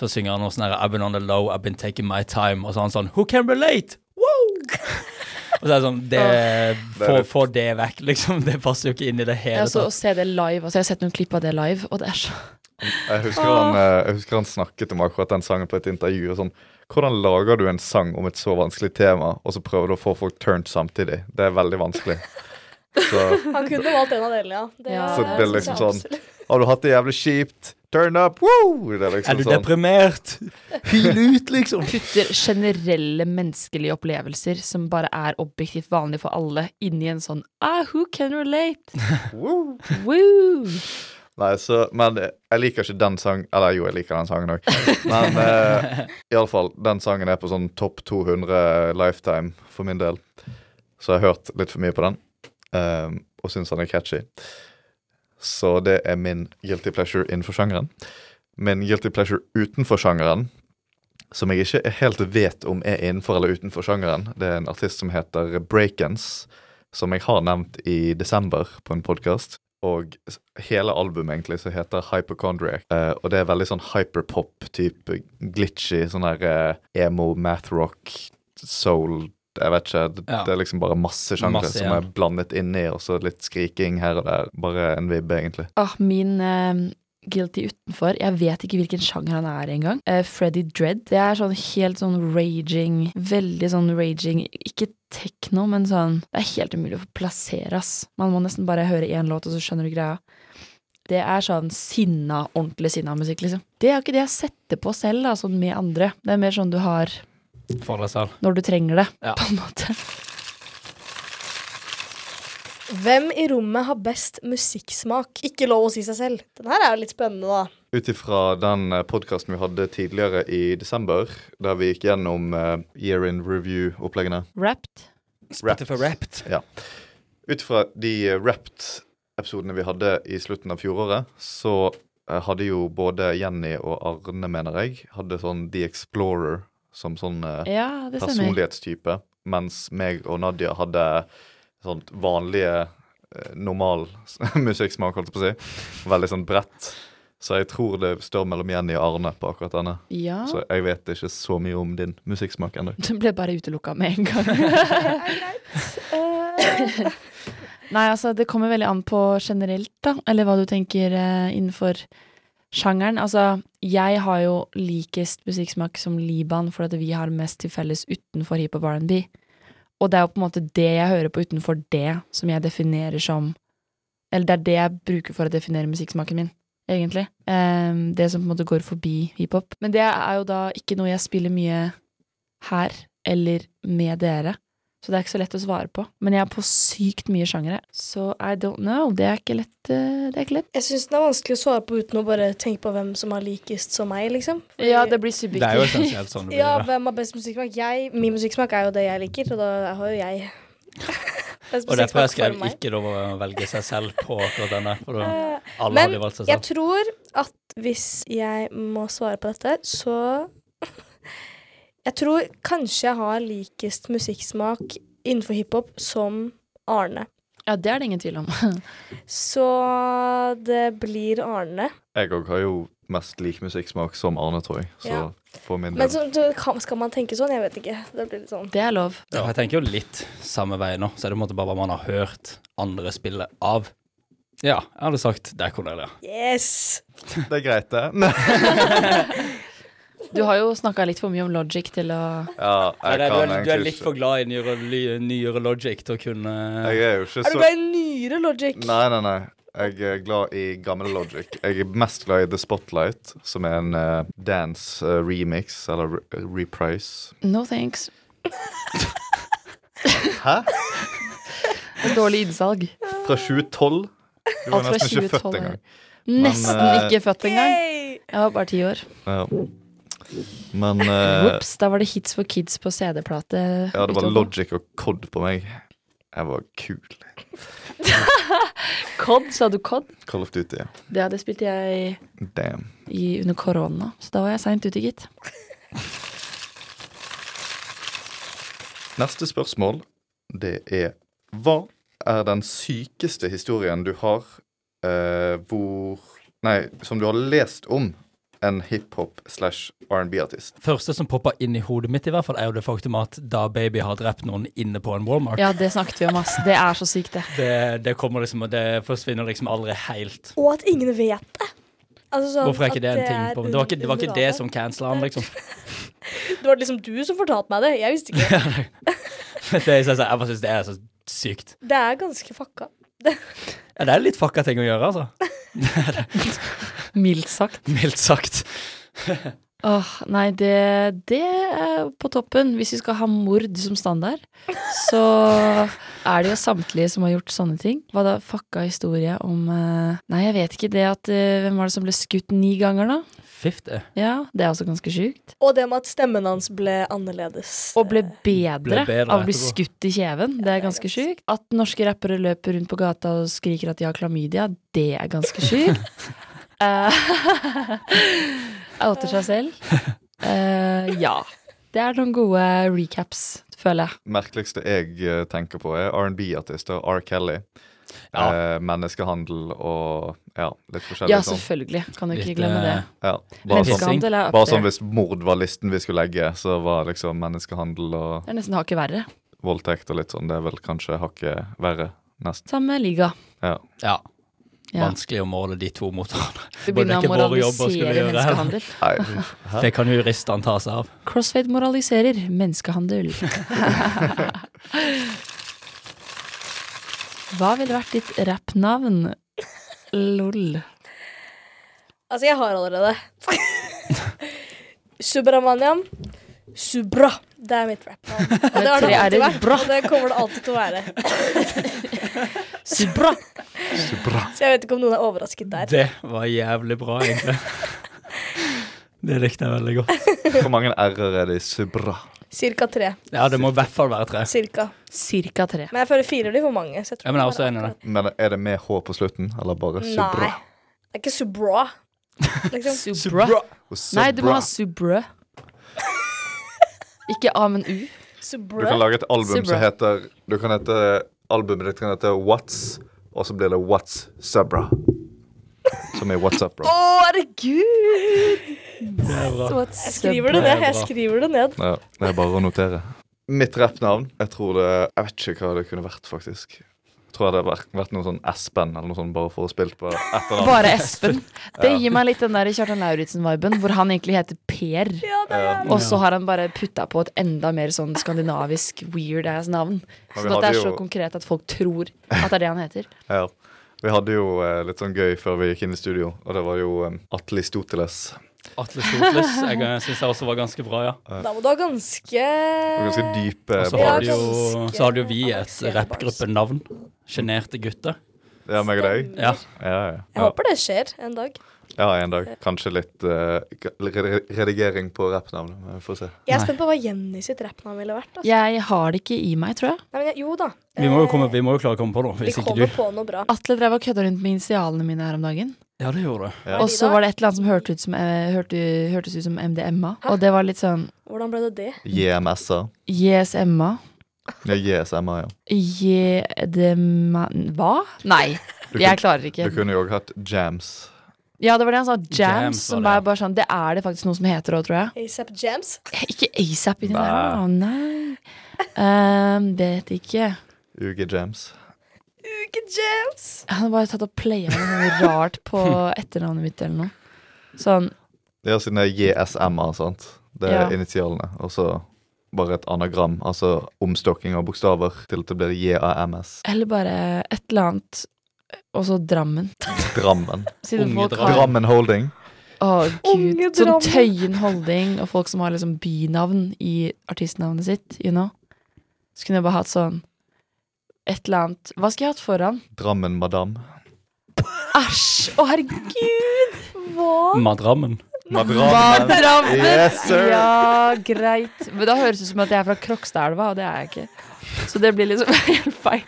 Speaker 4: så synger han noe sånn her I've been on the low, I've been taking my time. Og så er han sånn Who can relate? Wow! Og så er det sånn det, Få
Speaker 1: litt-
Speaker 4: få det vekk, liksom. Det passer jo ikke inn i det
Speaker 2: Jeg
Speaker 4: hele
Speaker 2: så å
Speaker 4: tatt.
Speaker 2: se det live. Altså, jeg har sett noen klipp av det live, og det er så
Speaker 1: Jeg husker, han, eh, jeg husker han snakket om akkurat den sangen på et intervju. og sånn, Hvordan lager du en sang om et så vanskelig tema, og så prøver du å få folk turned samtidig? Det er veldig vanskelig. Så
Speaker 3: Han kunne valgt en av delene, ja. Det, sånn.
Speaker 2: Ja.
Speaker 1: Så det er
Speaker 3: synes jeg
Speaker 1: liksom
Speaker 3: absolutt.
Speaker 1: har du hatt det jævlig kjipt, turn up! Woo! Det er liksom
Speaker 4: Er du
Speaker 1: sånn.
Speaker 4: deprimert? Hyl ut, liksom.
Speaker 2: putter generelle menneskelige opplevelser som bare er objektivt vanlige for alle, inn i en sånn ah, who can relate?
Speaker 1: Woo!
Speaker 2: Woo!
Speaker 1: Nei, så, men eh, jeg liker ikke den sangen Eller jo, jeg liker den sangen òg. Men eh, iallfall, den sangen er på sånn topp 200 lifetime for min del. Så jeg har hørt litt for mye på den, eh, og syns han er catchy. Så det er min guilty pleasure innenfor sjangeren. Min guilty pleasure utenfor sjangeren, som jeg ikke helt vet om er innenfor eller utenfor sjangeren, det er en artist som heter Breakens, som jeg har nevnt i desember på en podkast. Og s- hele albumet egentlig som heter Hypochondriac. Eh, og det er veldig sånn hyperpop-type, glitchy, sånn her eh, emo, mathrock, soul Jeg vet ikke. Det,
Speaker 4: Ja.
Speaker 1: det er liksom bare masse sjangre
Speaker 4: Masse,
Speaker 1: som
Speaker 4: ja.
Speaker 1: er blandet inni, og så litt skriking her og der. Bare en vibbe, egentlig.
Speaker 2: Ah, min eh, guilty utenfor Jeg vet ikke hvilken sjanger han er engang. Uh, Freddy Dredd. Det er sånn helt sånn raging Veldig sånn raging Ikke tekno, men sånn Det er helt umulig å få plassere, ass. Man må nesten bare høre én låt, og så skjønner du greia. Det er sånn sinna, ordentlig sinna musikk, liksom. Det er jo ikke det jeg setter på selv, da, sånn med andre. Det er mer sånn du har
Speaker 4: For deg selv.
Speaker 2: når du trenger det,
Speaker 4: Ja.
Speaker 2: på en måte.
Speaker 3: Hvem i rommet har best musikksmak? Ikke lov å si seg selv. Den her er jo litt spennende, da.
Speaker 1: Ut ifra den podkasten vi hadde tidligere i desember, der vi gikk gjennom eh, year in review-oppleggene
Speaker 2: Wrapped.
Speaker 4: Spotify Wrapped.
Speaker 1: Ut ifra de eh, Wrapped-episodene vi hadde i slutten av fjoråret, så eh, hadde jo både Jenny og Arne, mener jeg, hadde sånn The Explorer som sånn eh,
Speaker 2: Ja, det stemmer.
Speaker 1: personlighetstype, mens meg og Nadia hadde sånt vanlige, eh, normal musikksmak, holdt jeg på å si. Veldig sånn bredt. Så jeg tror det står mellom Jenny og Arne på akkurat denne.
Speaker 3: Ah.
Speaker 2: Ja.
Speaker 1: Så jeg vet ikke så mye om din musikksmak ennå.
Speaker 2: Du ble bare utelukka med en gang. Nei, altså det kommer veldig an på generelt, da. Eller hva du tenker eh, innenfor sjangeren Altså, jeg har jo likest musikksmak som Liban, for at vi har mest til felles utenfor hiphop og R&B. Og det er jo på en måte det jeg hører på utenfor det, som jeg definerer som Eller det er det jeg bruker for å definere musikksmaken min, egentlig. Ehm, det som på en måte går forbi hiphop. Men det er jo da ikke noe jeg spiller mye her, eller med dere. Så det er ikke så lett å svare på. Men jeg er på sykt mye sjangere. Så I don't know. Det er ikke lett. eh, Det er ikke lett.
Speaker 3: Jeg syns den er vanskelig å svare på uten å bare tenke på hvem som er likest som meg, liksom. Fordi-
Speaker 2: Ja, det blir
Speaker 4: Det er
Speaker 2: subjektivt.
Speaker 4: jo essensielt sånn det blir.
Speaker 3: ja,
Speaker 4: da.
Speaker 3: hvem har best musikksmak? Jeg, min musikksmak er jo det jeg liker, og da har jo jeg best
Speaker 4: Og derfor har jeg
Speaker 3: musikksmak for
Speaker 4: skrevet
Speaker 3: meg.
Speaker 4: ikke lov å velge seg selv på akkurat denne. For da,
Speaker 3: Eh,
Speaker 4: alle
Speaker 3: men
Speaker 4: hadde jo valgt seg
Speaker 3: Jeg
Speaker 4: selv.
Speaker 3: tror at hvis jeg må svare på dette, så Jeg tror kanskje jeg har likest musikksmak innenfor hiphop som Arne.
Speaker 2: Ja, det er det ingen tvil om.
Speaker 3: Så det blir Arne.
Speaker 1: Jeg òg har jo mest lik musikksmak som Arne, tror jeg. Så
Speaker 3: Ja.
Speaker 1: for min del.
Speaker 3: Men så, så kan- skal man tenke sånn? Jeg vet ikke. Det blir litt sånn
Speaker 2: Det er lov.
Speaker 4: Ja, Jeg tenker jo litt samme vei nå, så er det på en måte bare hva man har hørt andre spille av. Ja, jeg hadde sagt det er Cornelia.
Speaker 3: Yes!
Speaker 1: Det er greit, det. Nei.
Speaker 2: Du har jo snakka litt for mye om logic til å
Speaker 1: Ja, jeg
Speaker 4: du,
Speaker 1: kan
Speaker 4: er,
Speaker 1: egentlig
Speaker 4: litt
Speaker 1: ikke-
Speaker 4: for glad i nyere, logic til å kunne
Speaker 1: Jeg er jo ikke
Speaker 3: Er du
Speaker 1: så
Speaker 3: glad i nyere logic?
Speaker 1: Nei, nei, nei. Jeg er glad i gammel logic. Jeg er mest glad i The Spotlight, som er en eh, dance eh, remix, eller re reprise.
Speaker 2: No thanks.
Speaker 1: Hæ?
Speaker 2: Et dårlig innsalg.
Speaker 1: Fra 2012? Du var
Speaker 2: Alt fra
Speaker 1: nesten ikke
Speaker 2: 2012
Speaker 1: født
Speaker 2: er-
Speaker 1: engang.
Speaker 2: Nesten
Speaker 1: eh,
Speaker 2: ikke født engang.
Speaker 3: Yay!
Speaker 2: Jeg var bare ti år.
Speaker 1: Ja. Men eh,
Speaker 2: Ops, da var det hits for kids på CD-plate.
Speaker 1: ja, det var
Speaker 2: utover.
Speaker 1: logic og cod på meg. Jeg var kul.
Speaker 2: Cod, sa du Cod?
Speaker 1: Call of Duty.
Speaker 2: Det hadde spilte jeg
Speaker 1: Damn.
Speaker 2: i, under korona, så da var jeg seint ute, gitt.
Speaker 1: Neste spørsmål, det er Hva er den sykeste historien du har eh, hvor Nei, som du har lest om en hiphop slash R&B-artist?
Speaker 4: Første som popper inn i hodet mitt, i hvert fall, er jo det faktum at da Baby har drept noen inne på en Walmart,
Speaker 2: Ja, det snakket vi om, ass. Det er så sykt, det.
Speaker 4: det, det kommer liksom, og det forsvinner liksom aldri helt.
Speaker 3: Og at ingen vet det. Altså sånn
Speaker 4: Hvorfor er ikke
Speaker 3: at
Speaker 4: det en ting?
Speaker 3: er
Speaker 4: på Det var ikke det, var ikke det
Speaker 3: underlaget.
Speaker 4: som cancela han, liksom.
Speaker 3: Det var liksom du som fortalte meg det. Jeg visste ikke.
Speaker 4: Det, er- jeg bare syns det er så sykt.
Speaker 3: Det er ganske fucka.
Speaker 4: Ja, det er litt fucka ting å gjøre, altså.
Speaker 2: Mildt sagt.
Speaker 4: Mildt sagt.
Speaker 2: Åh, nei, det, det er på toppen. Hvis vi skal ha mord som standard, så er det jo samtlige som har gjort sånne ting. Hva da, fucka historie om eh, Nei, jeg vet ikke det at eh, Hvem var det som ble skutt ni ganger, da?
Speaker 4: 50.
Speaker 2: Ja, det er også ganske sjukt.
Speaker 3: Og det med at stemmen hans ble annerledes.
Speaker 2: Og ble bedre,
Speaker 4: Ble bedre
Speaker 2: av å bli
Speaker 4: etterpå.
Speaker 2: skutt i kjeven. Det er ganske sjukt. At norske rappere løper rundt på gata og skriker at de har klamydia, det er ganske sjukt. Eh, Outer seg selv. Eh, ja. Det er noen gode recaps, føler jeg.
Speaker 1: merkeligste jeg eh, tenker på, er R&B-artister. R. Kelly.
Speaker 4: Ja.
Speaker 1: Eh, menneskehandel og ja, litt forskjellig
Speaker 2: Ja,
Speaker 1: sånn.
Speaker 2: selvfølgelig. Kan du ikke
Speaker 4: Litt,
Speaker 2: glemme det.
Speaker 4: eh,
Speaker 1: Ja, bare sånn,
Speaker 4: menneskehandel
Speaker 2: Menneskehandel er up
Speaker 1: bare sånn
Speaker 2: there.
Speaker 1: hvis mord var listen vi skulle legge, så var liksom menneskehandel og
Speaker 2: Det er nesten hakket verre.
Speaker 1: voldtekt og litt sånn, det er vel kanskje hakket verre. Nesten.
Speaker 2: Samme liga.
Speaker 1: Ja.
Speaker 4: Ja.
Speaker 2: Ja.
Speaker 4: Vanskelig å måle de to mot hverandre.
Speaker 2: Vi begynner å
Speaker 4: ikke vår jobb å skulle
Speaker 2: moralisere
Speaker 4: gjøre det.
Speaker 2: menneskehandel.
Speaker 1: Nei, hæ?
Speaker 4: Det kan jo juristene ta seg av.
Speaker 2: Crossfade moraliserer menneskehandel. Hva ville vært ditt rappnavn? LOL.
Speaker 3: Altså, jeg har allerede. Subramaniam. Subra. Det er mitt rap-navn. Og det har det
Speaker 2: tre
Speaker 3: alltid
Speaker 2: R-er.
Speaker 3: vært, og det kommer det alltid til å være.
Speaker 2: Subra.
Speaker 1: Supra.
Speaker 3: Så jeg vet ikke om noen er overrasket der.
Speaker 4: Det var jævlig bra, egentlig. Det likte jeg veldig godt.
Speaker 1: Hvor mange r-er er det i subra?
Speaker 3: Cirka tre.
Speaker 4: Ja, det må i hvert fall være tre.
Speaker 3: Cirka.
Speaker 2: Cirka tre.
Speaker 3: Men jeg føler fire blir for mange. Så jeg tror
Speaker 4: Ja, men jeg er
Speaker 3: det
Speaker 4: også enig i det.
Speaker 1: Men er det med h på slutten, eller bare
Speaker 3: bare-
Speaker 1: subra?
Speaker 3: Nei. Det er ikke subra. Liksom.
Speaker 2: Subra.
Speaker 1: Og subra.
Speaker 2: Nei, du må ha subra. Ikke A, men U.
Speaker 1: Du kan
Speaker 3: Subra.
Speaker 1: lage et album
Speaker 2: Subra.
Speaker 1: som heter Du kan hete Albumet ditt kan hete What's, og så blir det What's Subra. Som i What's Up, bro.
Speaker 2: Å, herregud!
Speaker 4: Det er bra.
Speaker 2: What's
Speaker 3: Jeg skriver det
Speaker 4: Det er
Speaker 3: ned. Jeg
Speaker 4: bra.
Speaker 3: skriver det ned.
Speaker 1: Ja, det er bare å notere. Mitt rappnavn Jeg tror det Jeg vet ikke hva det kunne vært, faktisk. tror jeg det hadde vært, vært noe sånn Espen eller noe sånt bare for å spille på et eller annet.
Speaker 2: Bare Espen. Det gir meg litt den der Kjartan Lauritzen-viben, hvor han egentlig heter Per.
Speaker 3: Ja, det er
Speaker 2: Og så har han bare putta på et enda mer sånn skandinavisk weird ass navn.
Speaker 1: Men
Speaker 2: Så
Speaker 1: vi
Speaker 2: at det
Speaker 1: hadde
Speaker 2: er så
Speaker 1: jo-
Speaker 2: konkret at folk tror at det er det han heter.
Speaker 1: Ja. Vi hadde jo eh, litt sånn gøy før vi gikk inn i studio, og det var jo eh, Atle Stoteles.
Speaker 4: Atle Stotles. Jeg eh, syns jeg også var ganske bra, ja.
Speaker 3: Da må du ha ganske
Speaker 1: Og ganske dype
Speaker 4: Og så
Speaker 3: Ja,
Speaker 4: har
Speaker 1: bars.
Speaker 4: du jo,
Speaker 3: ganske
Speaker 4: så har du jo vi et
Speaker 3: avanserte
Speaker 4: rappgruppenavn. Sjenerte gutter.
Speaker 1: Ja, meg og deg.
Speaker 4: Ja.
Speaker 1: Ja, ja.
Speaker 3: Jeg
Speaker 1: ja.
Speaker 3: håper det skjer en dag.
Speaker 1: ja en dag. Kanskje litt eh, re- redigering på rappnavnet, men vi får se.
Speaker 3: Jeg er
Speaker 4: Nei.
Speaker 3: spent på hva Jenny sitt rappnavn ville vært. Altså.
Speaker 2: Jeg har det ikke i meg, tror jeg.
Speaker 3: Nei, men, jeg- jo da.
Speaker 4: Vi må jo, komme,
Speaker 3: Eh,
Speaker 4: vi må jo klare å komme på noe,
Speaker 3: vi
Speaker 4: hvis ikke
Speaker 3: kommer
Speaker 4: du
Speaker 3: på noe bra.
Speaker 2: Atle drev og kødda rundt med initialene mine her om dagen.
Speaker 4: Ja, det gjorde du.
Speaker 1: Ja.
Speaker 2: Og så var det et eller annet som hørte ut som, eh, hørte, hørtes ut som MDMA. Og det var litt sånn
Speaker 3: Hvordan ble det det?
Speaker 1: JMS-er.
Speaker 2: JSMA.
Speaker 1: Ja, JSMA, ja.
Speaker 2: JDMA Hva? Nei,
Speaker 1: Du kunne,
Speaker 2: jeg klarer
Speaker 1: du
Speaker 2: ikke.
Speaker 1: kunne jo også hatt Jams.
Speaker 2: Ja, det var det han sa.
Speaker 4: Jams
Speaker 2: Jams.
Speaker 4: var
Speaker 2: Som
Speaker 4: det, ja.
Speaker 2: bare, bare sånn, det er det faktisk noe som heter òg, tror jeg.
Speaker 3: ASAP Jams?
Speaker 2: Ikke ASAP inni der,
Speaker 1: Nei.
Speaker 2: da. Nei. Ehm, vet ikke.
Speaker 1: UG Jams.
Speaker 3: Uke Jams!
Speaker 2: Han har bare tatt og playa noe rart på etternavnet mitt eller noe. Sånn
Speaker 1: Ja, siden det er JSMA, sant. Det er
Speaker 2: Ja.
Speaker 1: initialene. Og så bare et anagram. Altså omstokking av bokstaver til at det blir JAMS.
Speaker 2: Eller bare et eller annet. Og så Drammen.
Speaker 1: Drammen.
Speaker 2: Siden
Speaker 4: Unge
Speaker 2: folk har
Speaker 1: Drammen Holding.
Speaker 2: Å, gud.
Speaker 3: Unge
Speaker 2: Sånn
Speaker 3: Drammen.
Speaker 2: Tøyen Holding og folk som har liksom bynavn i artistnavnet sitt, you know. Så kunne jeg bare hatt sånn et eller annet Hva skulle jeg hatt foran?
Speaker 1: Drammen Madam.
Speaker 2: Æsj! Å, herregud!
Speaker 3: Hva?
Speaker 4: Madrammen.
Speaker 2: Hva, Drammen?
Speaker 1: Yes, sir.
Speaker 2: Ja, greit. Men da høres det ut som at jeg er fra Krokstadelva, og det er jeg ikke. Så det blir liksom helt feil.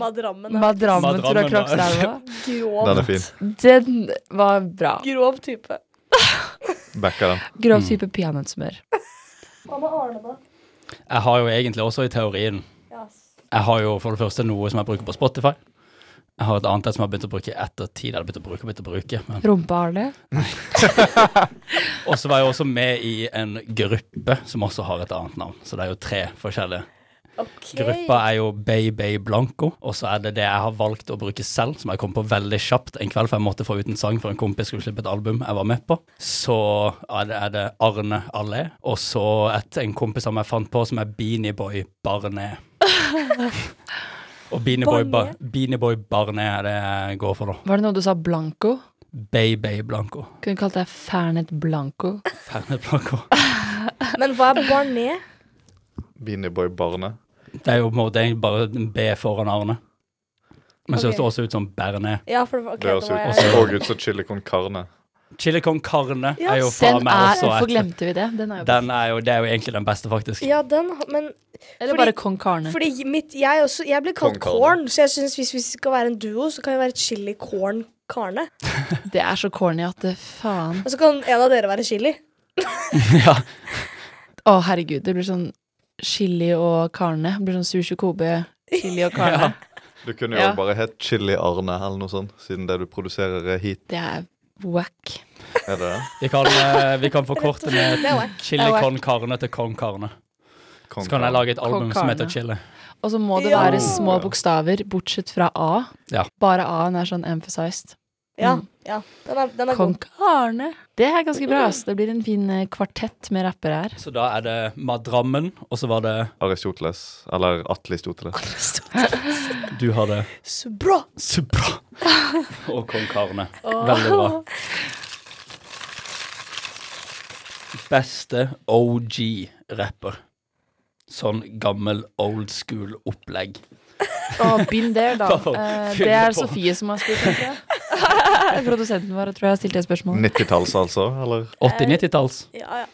Speaker 3: Madrammen er
Speaker 2: Madrammen fra
Speaker 4: Madrammen, da.
Speaker 2: Krokstadelva.
Speaker 3: grov,
Speaker 1: Den er fin.
Speaker 2: Den var bra.
Speaker 3: grov type.
Speaker 1: Backer den.
Speaker 2: Grov type peanøttsmør.
Speaker 3: Hva med Arne, da?
Speaker 4: Jeg har jo egentlig også i teorien
Speaker 3: Yes.
Speaker 4: Jeg har jo for det første noe som jeg bruker på Spotify. Jeg har et annet et som jeg har begynt å bruke etter tid. Jeg hadde begynt å bruke, begynt å bruke. Men.
Speaker 2: Rumpe-Arne.
Speaker 4: Og så var jeg også med i en gruppe som også har et annet navn. Så det er jo tre forskjellige.
Speaker 3: Ok.
Speaker 4: Gruppa er jo Bay Bay Blanco, og så er det det jeg har valgt å bruke selv, som jeg kom på veldig kjapt en kveld, for jeg måtte få ut en sang for en kompis skulle slippe et album jeg var med på. Så er det, er det Arne Allé, og så et, en kompis som jeg fant på, som er Beanie Boy Barnet. og Beanie Boy, ba,
Speaker 3: Barnet?
Speaker 4: Beanie Boy Barnet er det jeg går for, da.
Speaker 2: Var det noe du sa blanco?
Speaker 4: Bay Bay Blanco.
Speaker 2: Kunne kalt deg Fernet Blanco.
Speaker 4: Fernet Blanco.
Speaker 3: Men hva er Barnet?
Speaker 1: Beanieboy Barne.
Speaker 4: Det er jo på en måte egentlig bare en B foran Arne. Men så
Speaker 3: Ok.
Speaker 4: høres det også ut som Bernet.
Speaker 3: Ja, for det var, ok,
Speaker 1: Det høres
Speaker 3: det var
Speaker 1: ut
Speaker 3: jeg.
Speaker 1: og ut som chili con carne.
Speaker 4: Chili con carne
Speaker 3: Ja,
Speaker 4: er jo
Speaker 2: Den
Speaker 4: faen meg
Speaker 2: er,
Speaker 4: også
Speaker 2: Hvorfor
Speaker 4: et
Speaker 2: glemte vi det? Den er jo
Speaker 4: Den er jo, det er jo egentlig den beste, faktisk.
Speaker 3: Ja, den, men
Speaker 2: Eller
Speaker 3: fordi-
Speaker 2: bare Kong Karne.
Speaker 3: fordi mitt, jeg, også, jeg ble kalt
Speaker 1: Kong Karne.
Speaker 3: Korn, så jeg synes hvis vi skal være en duo, så kan vi være Chili Corn Karne.
Speaker 2: Det er så corny at det faen
Speaker 3: Og så kan en av dere være chili.
Speaker 4: Ja.
Speaker 2: Å, herregud. Det blir sånn chili og Karne. Det blir sånn sushi Kobe, chili og Karne.
Speaker 1: Du kunne jo
Speaker 2: Ja.
Speaker 1: bare hett Chili Arne eller noe sånt, siden det du produserer er heat.
Speaker 2: Det er wack.
Speaker 1: Er det det?
Speaker 4: Vi, kan, eh, vi kan forkorte med
Speaker 3: Det er wack.
Speaker 4: Chili
Speaker 2: Det er
Speaker 4: con carne til Kong Karne.
Speaker 1: Kong
Speaker 4: Så kan jeg
Speaker 1: Karl.
Speaker 4: lage et album
Speaker 2: Kong
Speaker 4: som
Speaker 2: Karne.
Speaker 4: heter Chili.
Speaker 2: Og så må det
Speaker 3: Ja.
Speaker 2: være små bokstaver, bortsett fra A.
Speaker 4: Ja.
Speaker 2: Bare A-en er sånn emphasized.
Speaker 3: Ja,
Speaker 2: Mm.
Speaker 3: ja. Den er, den er
Speaker 2: Kong
Speaker 3: god.
Speaker 2: Karne. Det er ganske bra. ass. Det blir en fin eh, kvartett med rappere her.
Speaker 4: Så da er det Madrammen, og så var det
Speaker 1: Aristoteles. Eller Atle Stoteles.
Speaker 4: Du har det
Speaker 3: Så bra!
Speaker 4: Supra og Kong Karne. Veldig bra. Beste OG-rapper. Sånn gammel old school-opplegg.
Speaker 3: Eh.
Speaker 2: Og been there, da.
Speaker 4: Wow,
Speaker 2: Eh,
Speaker 4: fyller
Speaker 2: Det er
Speaker 4: på.
Speaker 2: Sofie som har spurt, tror jeg. Produsenten vår tror jeg har stilt det spørsmålet.
Speaker 1: 90-talls, altså? Eller
Speaker 4: 80-90-talls.
Speaker 3: Ja, ja.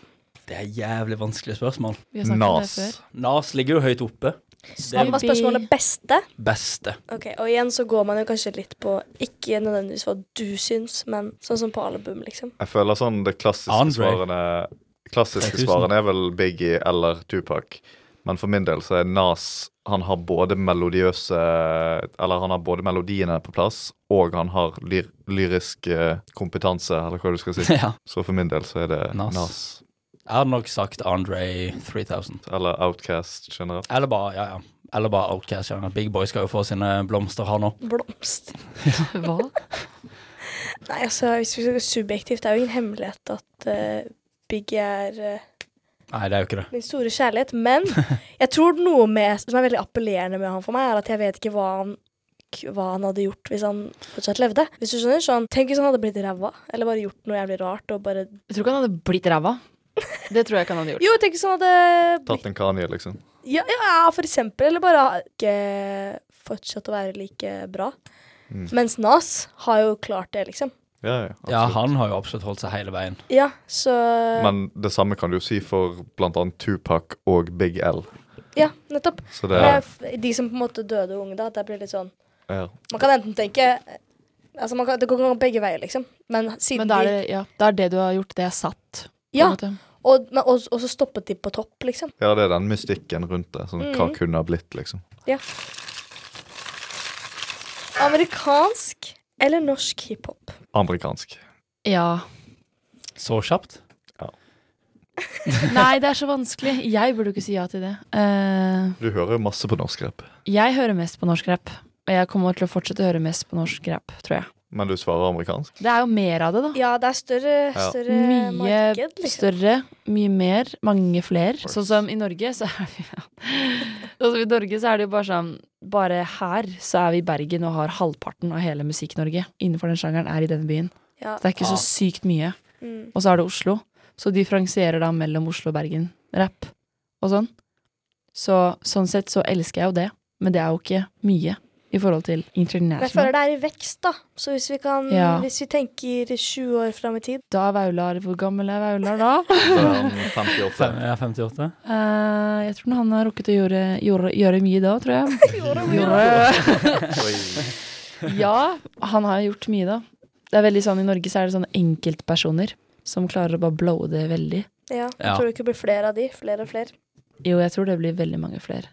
Speaker 4: Det er jævlig vanskelige spørsmål.
Speaker 2: Vi har snakket om det
Speaker 1: Nas?
Speaker 2: før.
Speaker 4: Nas ligger jo høyt oppe. Det
Speaker 3: Hva
Speaker 4: er
Speaker 3: var spørsmålet beste?
Speaker 4: beste.
Speaker 3: Ok, Og igjen så går man jo kanskje litt på ikke nødvendigvis hva du syns, men sånn som på album, liksom.
Speaker 1: Jeg føler sånn det klassiske
Speaker 4: Andre.
Speaker 1: svarene Klassiske
Speaker 4: 3000.
Speaker 1: svarene er vel Biggie eller Tupac. Men for min del så er Nas Han har både melodiøse Eller han har både melodiene på plass, og han har lyr, lyrisk eh, kompetanse, eller hva du skal si.
Speaker 4: Ja.
Speaker 1: Så for min del så er det
Speaker 4: Nas.
Speaker 1: Nas.
Speaker 4: Jeg hadde nok sagt Andre 3000.
Speaker 1: Eller Outcast generelt.
Speaker 4: Eller bare, ja, ja. Eller bare Outcast-sjangeren. Big Boy skal jo få sine blomster her nå.
Speaker 3: Blomst.
Speaker 2: Hva?
Speaker 3: Nei, altså, hvis vi skal gå subjektivt, det er jo ingen hemmelighet at eh, Biggie er eh,
Speaker 4: Nei, det er jo ikke det.
Speaker 3: min store kjærlighet. Men jeg tror noe med, som er veldig appellerende med han for meg, er at jeg vet ikke hva han k- hva han hadde gjort hvis han fortsatt levde. Hvis du skjønner, sånn, Tenk hvis han hadde blitt ræva, eller bare gjort noe jævlig rart. Og bare,
Speaker 2: Jeg tror ikke han hadde blitt ræva. Det tror jeg ikke han hadde gjort.
Speaker 3: jo, tenk hvis han hadde blitt,
Speaker 1: Tatt en Kanye, liksom.
Speaker 3: ja, ja, for eksempel. Eller bare ikke fortsatt å være like bra.
Speaker 1: Mm.
Speaker 3: Mens Nas har jo klart det, liksom.
Speaker 1: Ja, ja,
Speaker 4: Ja,
Speaker 1: absolutt.
Speaker 4: han har jo absolutt holdt seg hele veien.
Speaker 3: Ja, så
Speaker 1: Men det samme kan du jo si for blant annet Tupac og Big L.
Speaker 3: Ja, nettopp.
Speaker 1: Så det
Speaker 3: Men
Speaker 1: er
Speaker 3: jeg- De som på en måte døde unge, da. Det blir litt sånn
Speaker 1: ja.
Speaker 3: Man kan enten tenke Altså, man kan, Det går begge veier, liksom. Men siden
Speaker 2: Men da er
Speaker 3: de
Speaker 2: det, ja, da er det du har gjort, det er satt. på en
Speaker 3: Ja,
Speaker 2: måte.
Speaker 3: og, men, og, og så stoppet de på topp, liksom.
Speaker 1: ja, det er den mystikken rundt det. Sånn, Hva kunne ha blitt, liksom.
Speaker 3: Amerikansk eller norsk hiphop?
Speaker 1: Amerikansk.
Speaker 2: ja.
Speaker 4: Så kjapt.
Speaker 2: Nei, det er så vanskelig. Jeg burde jo ikke si ja til det. Eh,
Speaker 1: Du hører jo masse på norsk rap,
Speaker 2: jeg hører mest på norsk rap. Og jeg kommer til å fortsette å høre mest på norsk rap, tror jeg.
Speaker 1: men du svarer amerikansk.
Speaker 2: Det er jo mer av det, da.
Speaker 3: Ja, det er større,
Speaker 1: Ja.
Speaker 3: større
Speaker 2: Ah. Mye
Speaker 3: marked, liksom.
Speaker 2: større, mye mer, mange fler.
Speaker 1: course.
Speaker 2: Sånn som i Norge, så er vi ja. Sånn som I Norge så er det jo bare sånn Bare her så er vi i Bergen og har halvparten av hele Musikk-Norge innenfor den sjangeren er i denne byen.
Speaker 3: Ja.
Speaker 2: Så det er ikke
Speaker 4: Ah.
Speaker 2: så sykt mye.
Speaker 3: Mm.
Speaker 2: Og så er det Oslo. Så differensierer da mellom Oslo og Bergen rapp og sånn. Så sånn sett så elsker jeg jo det, men det er jo ikke mye i forhold til
Speaker 3: Men jeg føler
Speaker 2: international.
Speaker 3: det er i vekst, da. Så hvis vi kan
Speaker 2: Ja.
Speaker 3: Hvis vi tenker 20 år fram i tid
Speaker 2: Da Vaular Hvor gammel er Vaular da?
Speaker 1: Så er han 58.
Speaker 4: Fem, ja, 58.
Speaker 2: Eh, jeg tror han har rukket å gjøre, gjøre, gjøre mye da, tror jeg. Gjorde.
Speaker 1: Oi.
Speaker 2: Ja, han har gjort mye da. Det er veldig sånn, I Norge så er det sånne enkeltpersoner som klarer å bare blowe det veldig.
Speaker 3: Ja, jeg
Speaker 4: Ja.
Speaker 3: tror det ikke blir flere av de. Flere og flere.
Speaker 2: Jo, jeg tror det blir veldig mange flere.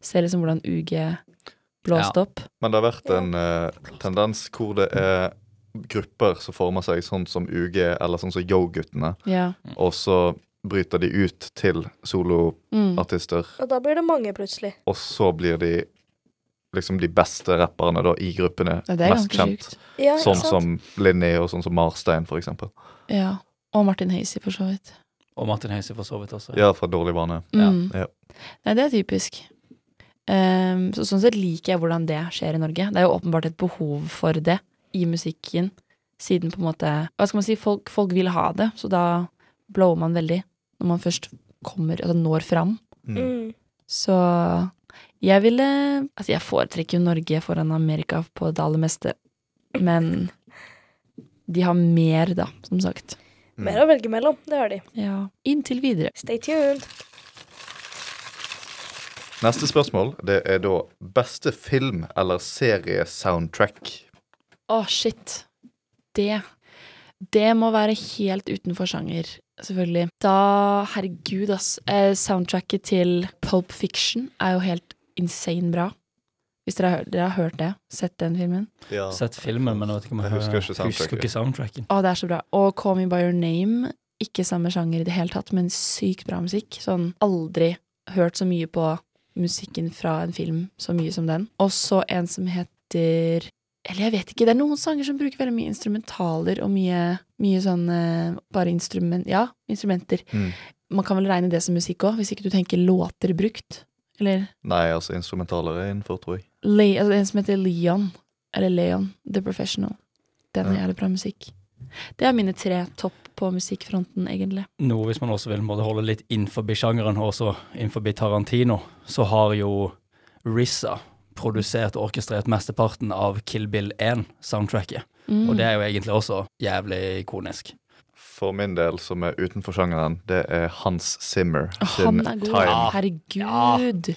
Speaker 2: Se liksom hvordan UG blåste opp.
Speaker 1: Men det har vært en eh, tendens hvor det er grupper som former seg sånn som UG eller sånn som Yo-guttene,
Speaker 2: Ja.
Speaker 1: og så bryter de ut til soloartister,
Speaker 2: Mm.
Speaker 3: Og da blir det mange, plutselig.
Speaker 1: og så blir de liksom de beste rapperne da i gruppene
Speaker 2: Ja, det er
Speaker 1: mest
Speaker 2: ganske
Speaker 1: kjent.
Speaker 2: sjukt.
Speaker 3: Ja, ikke
Speaker 1: Sånn
Speaker 3: sant?
Speaker 1: som Linné og sånn som Marstein, for eksempel.
Speaker 2: Ja. Og Martin Hazy, for så vidt.
Speaker 4: Og Martin Høise for så vidt også.
Speaker 1: Ja, fra Dårlig vane.
Speaker 2: Mm.
Speaker 1: Ja, ja.
Speaker 2: Nei, det er typisk. Ehm, så sånn sett liker jeg hvordan det skjer i Norge. Det er jo åpenbart et behov for det i musikken, siden på en måte Hva skal man si, folk, folk vil ha det, så da blower man veldig når man først kommer, altså når fram.
Speaker 1: Mm.
Speaker 3: Mm.
Speaker 2: Så jeg ville Altså, jeg foretrekker jo Norge foran Amerika på det aller meste, men de har mer, da, som sagt.
Speaker 3: Mer å velge mellom. Det har de.
Speaker 2: Ja. Inntil videre.
Speaker 3: Stay tuned.
Speaker 1: Neste spørsmål det er da beste film- eller seriesoundtrack.
Speaker 2: Å, shit. Det Det må være helt utenfor sjanger, selvfølgelig. Da Herregud, ass. Eh, soundtracket til Pulp Fiction er jo helt insane bra. Hvis dere har, hørt- dere har hørt det, sett den filmen.
Speaker 1: Ja.
Speaker 4: Sett filmen, men jeg vet ikke om jeg,
Speaker 1: Jeg husker ikke
Speaker 4: hører- husker ikke soundtracken.
Speaker 2: Å, det er så bra. Og Call Me By Your Name, ikke samme sjanger i det hele tatt, men sykt bra musikk. Sånn aldri hørt så mye på musikken fra en film så mye som den. Og så en som heter Eller jeg vet ikke, det er noen sanger som bruker veldig mye instrumentaler og mye, mye sånn eh, bare instrument... Ja, instrumenter.
Speaker 1: Mm.
Speaker 2: Man kan vel regne det som musikk òg, hvis ikke du tenker låter brukt. Eller
Speaker 1: Nei, altså instrumentaler er innenfor, tror jeg.
Speaker 2: Le altså, en som heter Leon, eller Leon, The Professional. Den
Speaker 1: Ja.
Speaker 2: er jævlig bra musikk. Det er mine tre topp på musikkfronten, egentlig.
Speaker 4: Noe hvis man også vil måtte holde litt innenfor sjangeren, og også innenfor Tarantino, så har jo RZA produsert og orkestrert mesteparten av Kill Bill 1-soundtracket.
Speaker 2: Mm.
Speaker 4: Og det er jo egentlig også jævlig ikonisk.
Speaker 1: For min del, som er utenfor sjangeren, det er Hans Zimmer
Speaker 2: Å,
Speaker 1: sin
Speaker 2: Mm. Han er god.
Speaker 1: Time,
Speaker 2: Herregud.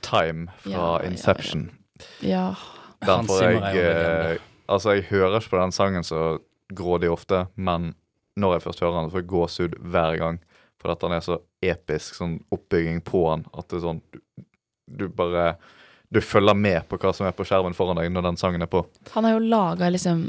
Speaker 1: time
Speaker 2: Ja,
Speaker 1: fra
Speaker 2: ja, ja.
Speaker 1: Inception.
Speaker 2: Ja.
Speaker 1: Den
Speaker 4: Hans
Speaker 1: får
Speaker 4: Zimmer er
Speaker 1: jeg
Speaker 4: jo en legende.
Speaker 1: eh, Altså, jeg hører ikke på den sangen så grådig ofte, men når jeg først hører den, så får jeg gåsehud hver gang. For at den er så episk, sånn oppbygging på den, at det er sånn Du, du bare Du følger med på hva som er på skjermen foran deg når den sangen er på.
Speaker 2: Han har jo laga liksom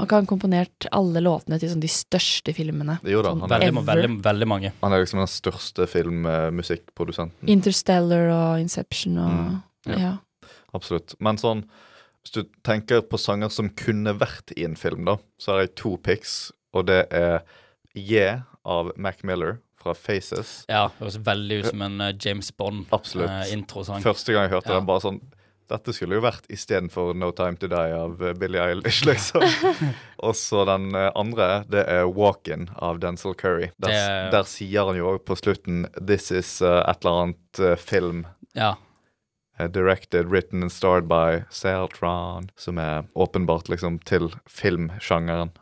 Speaker 2: Han har komponert alle låtene til sånn de største filmene.
Speaker 1: Jo da,
Speaker 2: Sånn
Speaker 1: han er,
Speaker 4: Veldig,
Speaker 2: Ever.
Speaker 4: veldig, veldig mange.
Speaker 1: han er liksom den største filmmusikkprodusenten.
Speaker 2: Interstellar og Inception og
Speaker 1: Mm. Ja.
Speaker 2: Ja.
Speaker 1: Absolutt. Men sånn, hvis du tenker på sanger som kunne vært i en film, da, så har jeg to picks, og det er Yeah av Mac Miller fra Faces.
Speaker 4: Ja, det høres veldig ut som en eh, James
Speaker 1: Absolutt.
Speaker 4: Bond-introsang.
Speaker 1: Første gang jeg hørte
Speaker 4: Eh, Ja.
Speaker 1: den, bare sånn Dette skulle jo vært istedenfor No Time To Die av eh, Billie Eilish, liksom. og så den eh, andre, det er Walk-In av Denzil Curry. Der,
Speaker 4: Det-
Speaker 1: der sier han jo også på slutten This is eh, et eller annet eh, film
Speaker 4: ja.
Speaker 1: eh, Directed, written and starred by Seltron, som er åpenbart liksom til filmsjangeren.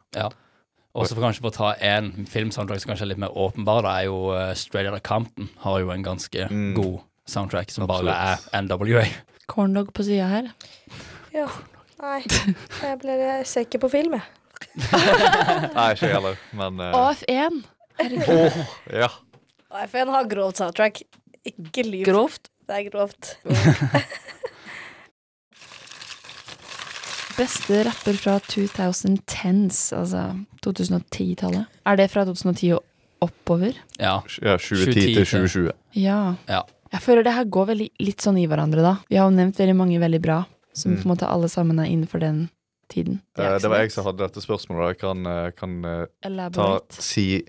Speaker 4: Og så for kanskje for å ta en filmsoundtrack som kanskje er litt mer åpenbar, det er jo eh, Straight Outta Compton har jo en ganske
Speaker 1: Mm.
Speaker 4: god soundtrack som
Speaker 1: Absolutt.
Speaker 4: bare er NWA.
Speaker 2: Corndog på sida her.
Speaker 3: Ja. Nei, jeg, ble, jeg ser ikke på film, jeg.
Speaker 1: Nei, ikke jeg heller, men eh,
Speaker 2: AF1.
Speaker 1: åh, ja.
Speaker 3: FN har grovt soundtrack. Ikke lyv.
Speaker 2: Grovt.
Speaker 3: Det er grovt.
Speaker 2: Beste rapper fra 2010s, altså 2010-tallet. Er det fra 2010 og oppover?
Speaker 4: Ja.
Speaker 1: ja 2010 til 2020.
Speaker 2: Ja.
Speaker 4: Ja.
Speaker 2: Jeg føler det her går veldig, litt sånn i hverandre, da. Vi har jo nevnt veldig mange veldig bra, som
Speaker 1: Mm.
Speaker 2: på en måte alle sammen er innenfor den tiden.
Speaker 1: Eh, Det var jeg som hadde dette spørsmålet. og Jeg kan, eh, kan eh, ta
Speaker 2: Elaborate.
Speaker 1: si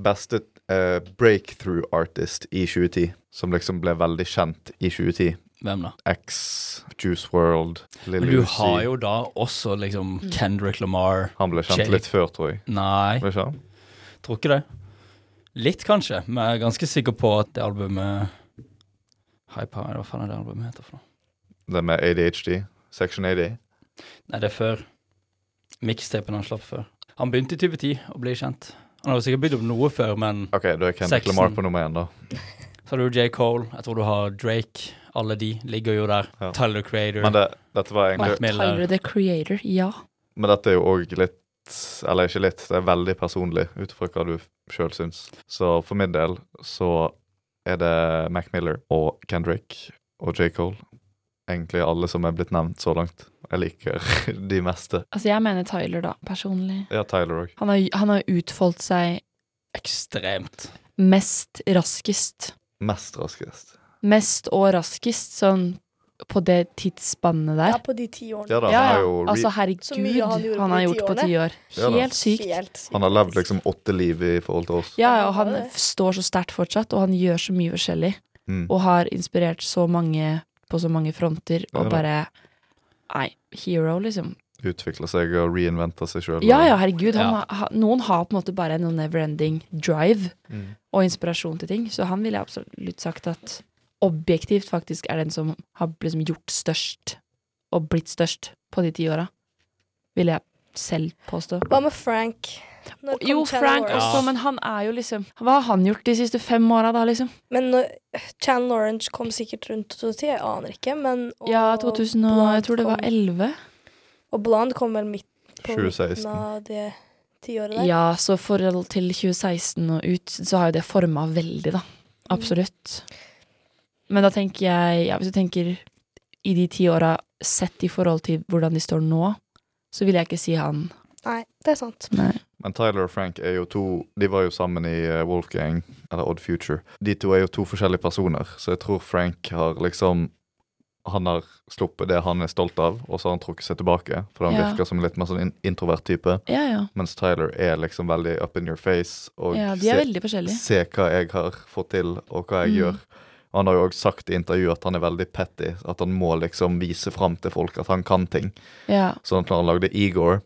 Speaker 1: beste eh, breakthrough artist i 2010, som liksom ble veldig kjent i 2010.
Speaker 4: Hvem da?
Speaker 1: X, Juice World,
Speaker 4: Men
Speaker 1: Lille
Speaker 4: du
Speaker 1: Lucy.
Speaker 4: har jo da også liksom
Speaker 2: Mm.
Speaker 4: Kendrick Lamar
Speaker 1: Han ble kjent
Speaker 4: Jake.
Speaker 1: litt før, tror jeg.
Speaker 4: Nei,
Speaker 1: Var det ikke han?
Speaker 4: tror ikke det. Litt, kanskje, men jeg er ganske sikker på at det albumet High Power, hva faen er det albumet heter for noe?
Speaker 1: Det med ADHD. Section 80.
Speaker 4: Nei, det er før. Mixtapen han slapp før. Han begynte i 2010 å bli kjent. Han har jo sikkert begynt opp noe før, men
Speaker 1: OK, da er Kendrick
Speaker 4: Sexen.
Speaker 1: Lamar på nummer én, da.
Speaker 4: så har du J. Cole, jeg tror du har Drake, alle de ligger jo der.
Speaker 1: Ja.
Speaker 4: Tyler the Creator,
Speaker 1: Men det, dette var egentlig
Speaker 4: Mac Miller.
Speaker 2: Tyler the Creator, ja.
Speaker 1: Men dette er jo òg litt Eller ikke litt, det er veldig personlig ut fra hva du sjøl syns. Så for min del så er det Mac Miller og Kendrick og J. Cole. Egentlig alle som er blitt nevnt så langt. Jeg liker de meste.
Speaker 2: Altså, jeg mener Tyler, da, personlig.
Speaker 1: Ja, Tyler òg.
Speaker 2: Han har, han har utfoldt seg
Speaker 4: Ekstremt.
Speaker 2: mest raskest.
Speaker 1: Mest raskest.
Speaker 2: Mest og raskest, sånn på det tidsspannet
Speaker 3: Ja,
Speaker 2: der.
Speaker 3: på de ti årene.
Speaker 1: Ja da,
Speaker 2: Ja,
Speaker 1: han
Speaker 2: ja.
Speaker 1: har jo re
Speaker 2: Altså,
Speaker 3: Så mye han
Speaker 2: herregud,
Speaker 3: gjorde
Speaker 2: han
Speaker 3: på
Speaker 2: har
Speaker 3: de
Speaker 2: gjort på
Speaker 3: ti
Speaker 2: ti år.
Speaker 1: Ja da.
Speaker 2: Helt sykt.
Speaker 3: Helt sykt.
Speaker 1: Han har levd liksom åtte liv i forhold til oss.
Speaker 2: Ja, ja, og
Speaker 3: Han
Speaker 2: han
Speaker 3: har det.
Speaker 2: står så sterkt fortsatt, og han gjør så mye forskjellig.
Speaker 1: Mm.
Speaker 2: Og har inspirert så mange på så mange fronter,
Speaker 1: Ja da.
Speaker 2: og bare Nei, hero, liksom.
Speaker 1: Utvikler seg og reinventer seg sjøl.
Speaker 2: Ja ja, herregud. Han,
Speaker 4: Ja.
Speaker 2: har- ha- noen har på en måte bare en sånn never-ending drive
Speaker 1: Mm.
Speaker 2: og inspirasjon til ting, så han ville jeg absolutt sagt at objektivt faktisk er den som har liksom gjort størst, og blitt størst, på de ti åra. Vil jeg selv påstå.
Speaker 3: Hva med Frank? Når kom
Speaker 2: Jo,
Speaker 3: Channel
Speaker 2: Frank
Speaker 3: Orange?
Speaker 2: også, men han er jo liksom Hva har han gjort de siste fem åra, da, liksom?
Speaker 3: Men når Channel Orange kom sikkert rundt 2010, jeg aner ikke, men og,
Speaker 2: Ja, 2000 og
Speaker 3: Blond
Speaker 2: Jeg tror det var
Speaker 3: kom-
Speaker 2: 11.
Speaker 3: Og Blond kom vel midt på
Speaker 1: 2016.
Speaker 3: midten av det tiåret der.
Speaker 2: Ja, så forhold til 2016 og ut, så har jo det forma veldig, da. Absolutt. Men da tenker jeg Ja, hvis du tenker i de ti åra sett i forhold til hvordan de står nå, så vil jeg ikke si han
Speaker 3: Nei, det er sant.
Speaker 2: Nei.
Speaker 1: Men Tyler og Frank er jo to De var jo sammen i eh, Wolfgang, eller Odd Future. De to er jo to forskjellige personer, så jeg tror Frank har liksom Han har sluppet det han er stolt av, og så har han trukket seg tilbake. For han
Speaker 2: Ja.
Speaker 1: virker som en litt mer sånn in- introvert type.
Speaker 2: Ja, ja.
Speaker 1: Mens Tyler er liksom veldig up in your face og
Speaker 2: ja de er
Speaker 1: se,
Speaker 2: veldig forskjellige.
Speaker 1: se hva jeg har fått til, og hva jeg
Speaker 2: Mm.
Speaker 1: gjør. Og Han har jo òg sagt i intervjuet at han er veldig petty, at han må liksom vise fram til folk at han kan ting.
Speaker 2: Ja.
Speaker 1: Sånn at når han lagde Igor,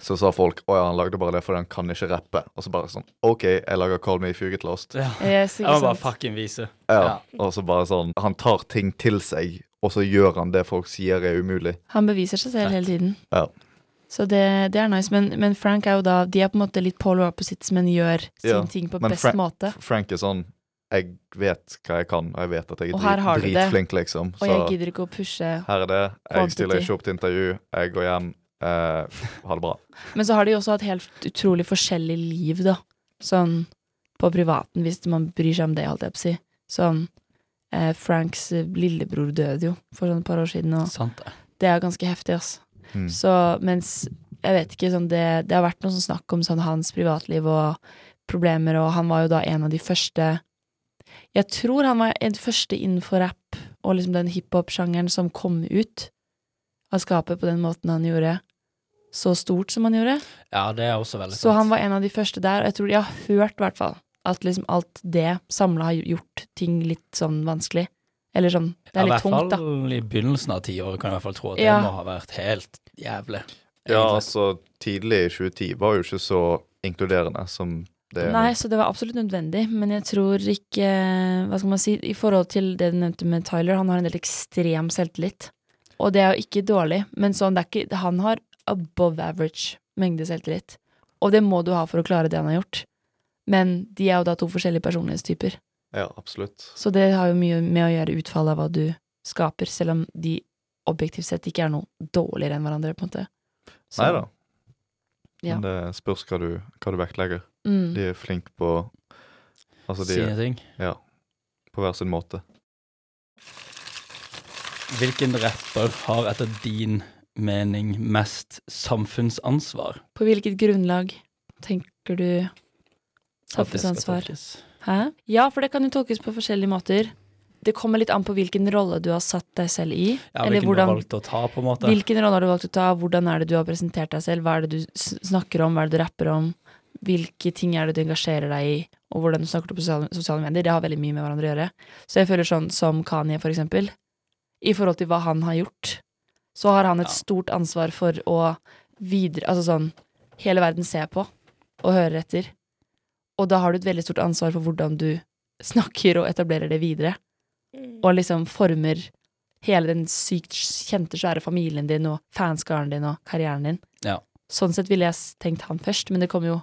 Speaker 1: så sa folk å ja, han lagde bare det fordi han kan ikke rappe. Og så bare sånn OK, jeg lager Call Me If You Get Lost.
Speaker 4: Ja.
Speaker 2: Yes,
Speaker 4: Jeg
Speaker 2: ikke
Speaker 4: må bare
Speaker 2: sant?
Speaker 4: fucking vise.
Speaker 1: Ja.
Speaker 4: Ja.
Speaker 1: Og så bare sånn Han tar ting til seg, og så gjør han det folk sier er umulig.
Speaker 2: Han beviser seg selv hele tiden.
Speaker 1: Ja.
Speaker 2: Så det, det er nice. Men, men Frank er jo da De er på en måte litt polar opposites, men gjør sin
Speaker 1: Ja,
Speaker 2: ting på
Speaker 1: men
Speaker 2: best
Speaker 1: Frank-
Speaker 2: måte.
Speaker 1: F- Frank er sånn Jeg vet hva jeg kan, og jeg vet at jeg er
Speaker 2: Og her har
Speaker 1: drit,
Speaker 2: du det.
Speaker 1: dritflink, liksom.
Speaker 2: Og jeg
Speaker 1: Så
Speaker 2: gidder ikke å pushe.
Speaker 1: her er det. Jeg stiller
Speaker 2: Quantity.
Speaker 1: ikke opp til intervju. Jeg går hjem. Eh, ha det bra.
Speaker 2: Men så har de også hatt helt utrolig forskjellig liv, da. Sånn på privaten, hvis man bryr seg om det, holdt jeg på å si. Sånn eh, Franks eh, lillebror døde jo for sånn et par år siden, og
Speaker 4: Sant det.
Speaker 2: det er ganske heftig, ass.
Speaker 1: Mm.
Speaker 2: Så mens jeg vet ikke, sånn det, det har vært noe sånn snakk om sånn hans privatliv og problemer, og han var jo da en av de første Jeg tror han var en av de første innenfor rap og liksom den hiphop-sjangeren som kom ut av skapet på den måten han gjorde, så stort som han gjorde.
Speaker 4: Ja, det er også veldig
Speaker 2: Så han var en av de første der, og jeg tror jeg har hørt i hvert fall at liksom alt det samla har gjort ting litt sånn vanskelig. Eller sånn, det er
Speaker 4: ja, i
Speaker 2: litt
Speaker 4: hvert
Speaker 2: tungt, da.
Speaker 4: fall i begynnelsen av tiåret kan jeg i hvert fall tro at
Speaker 2: Ja.
Speaker 4: det må ha vært helt jævlig.
Speaker 1: Ja,
Speaker 4: egentlig.
Speaker 1: altså, tidlig i 2010 var jo ikke så inkluderende som det er nå.
Speaker 2: Nei, så det var absolutt nødvendig, men jeg tror ikke Hva skal man si? I forhold til det du nevnte med Tyler, han har en del ekstrem selvtillit. Og det er jo ikke dårlig, men sånn, det er ikke, han har above average mengde selvtillit. Og det må du ha for å klare det han har gjort. Men de er jo da to forskjellige personlighetstyper.
Speaker 1: Ja, absolutt.
Speaker 2: Så det har jo mye med å gjøre utfallet av hva du skaper, selv om de objektivt sett ikke er noe dårligere enn hverandre, på en måte. Så-
Speaker 1: Nei da.
Speaker 2: Ja.
Speaker 1: Men det spørs hva du, hva du vektlegger.
Speaker 2: Mm.
Speaker 1: De er flinke på Altså, de
Speaker 4: Sine
Speaker 1: er
Speaker 4: ting.
Speaker 1: på hver sin måte.
Speaker 4: Hvilken rapper har etter din mening mest samfunnsansvar?
Speaker 2: På hvilket grunnlag tenker du
Speaker 4: At det skal
Speaker 2: Samfunnsansvar.
Speaker 4: tolkes?
Speaker 2: Hæ? Ja, for det kan jo tolkes på forskjellige måter. Det kommer litt an på hvilken rolle du har satt deg selv i.
Speaker 4: Ja,
Speaker 2: eller
Speaker 4: hvilken du
Speaker 2: hvordan,
Speaker 4: valgte å ta, på en måte.
Speaker 2: hvilken rolle har du valgt å ta, hvordan er det du har presentert deg selv, hva er det du s- snakker om, hva er det du rapper om, hvilke ting er det du engasjerer deg i, og hvordan du snakker på sosiale, sosiale medier. Det har veldig mye med hverandre å gjøre. Så jeg føler sånn som Kanye, for eksempel, i forhold til hva han har gjort, så har han et
Speaker 4: Ja.
Speaker 2: stort ansvar for å videre Altså sånn Hele verden ser på og hører etter. Og da har du et veldig stort ansvar for hvordan du snakker og etablerer det videre
Speaker 3: Mm.
Speaker 2: og liksom former hele den sykt kjente, svære familien din og fanskaren din og karrieren din.
Speaker 4: Ja.
Speaker 2: Sånn sett ville jeg s- tenkt han først, men det kommer jo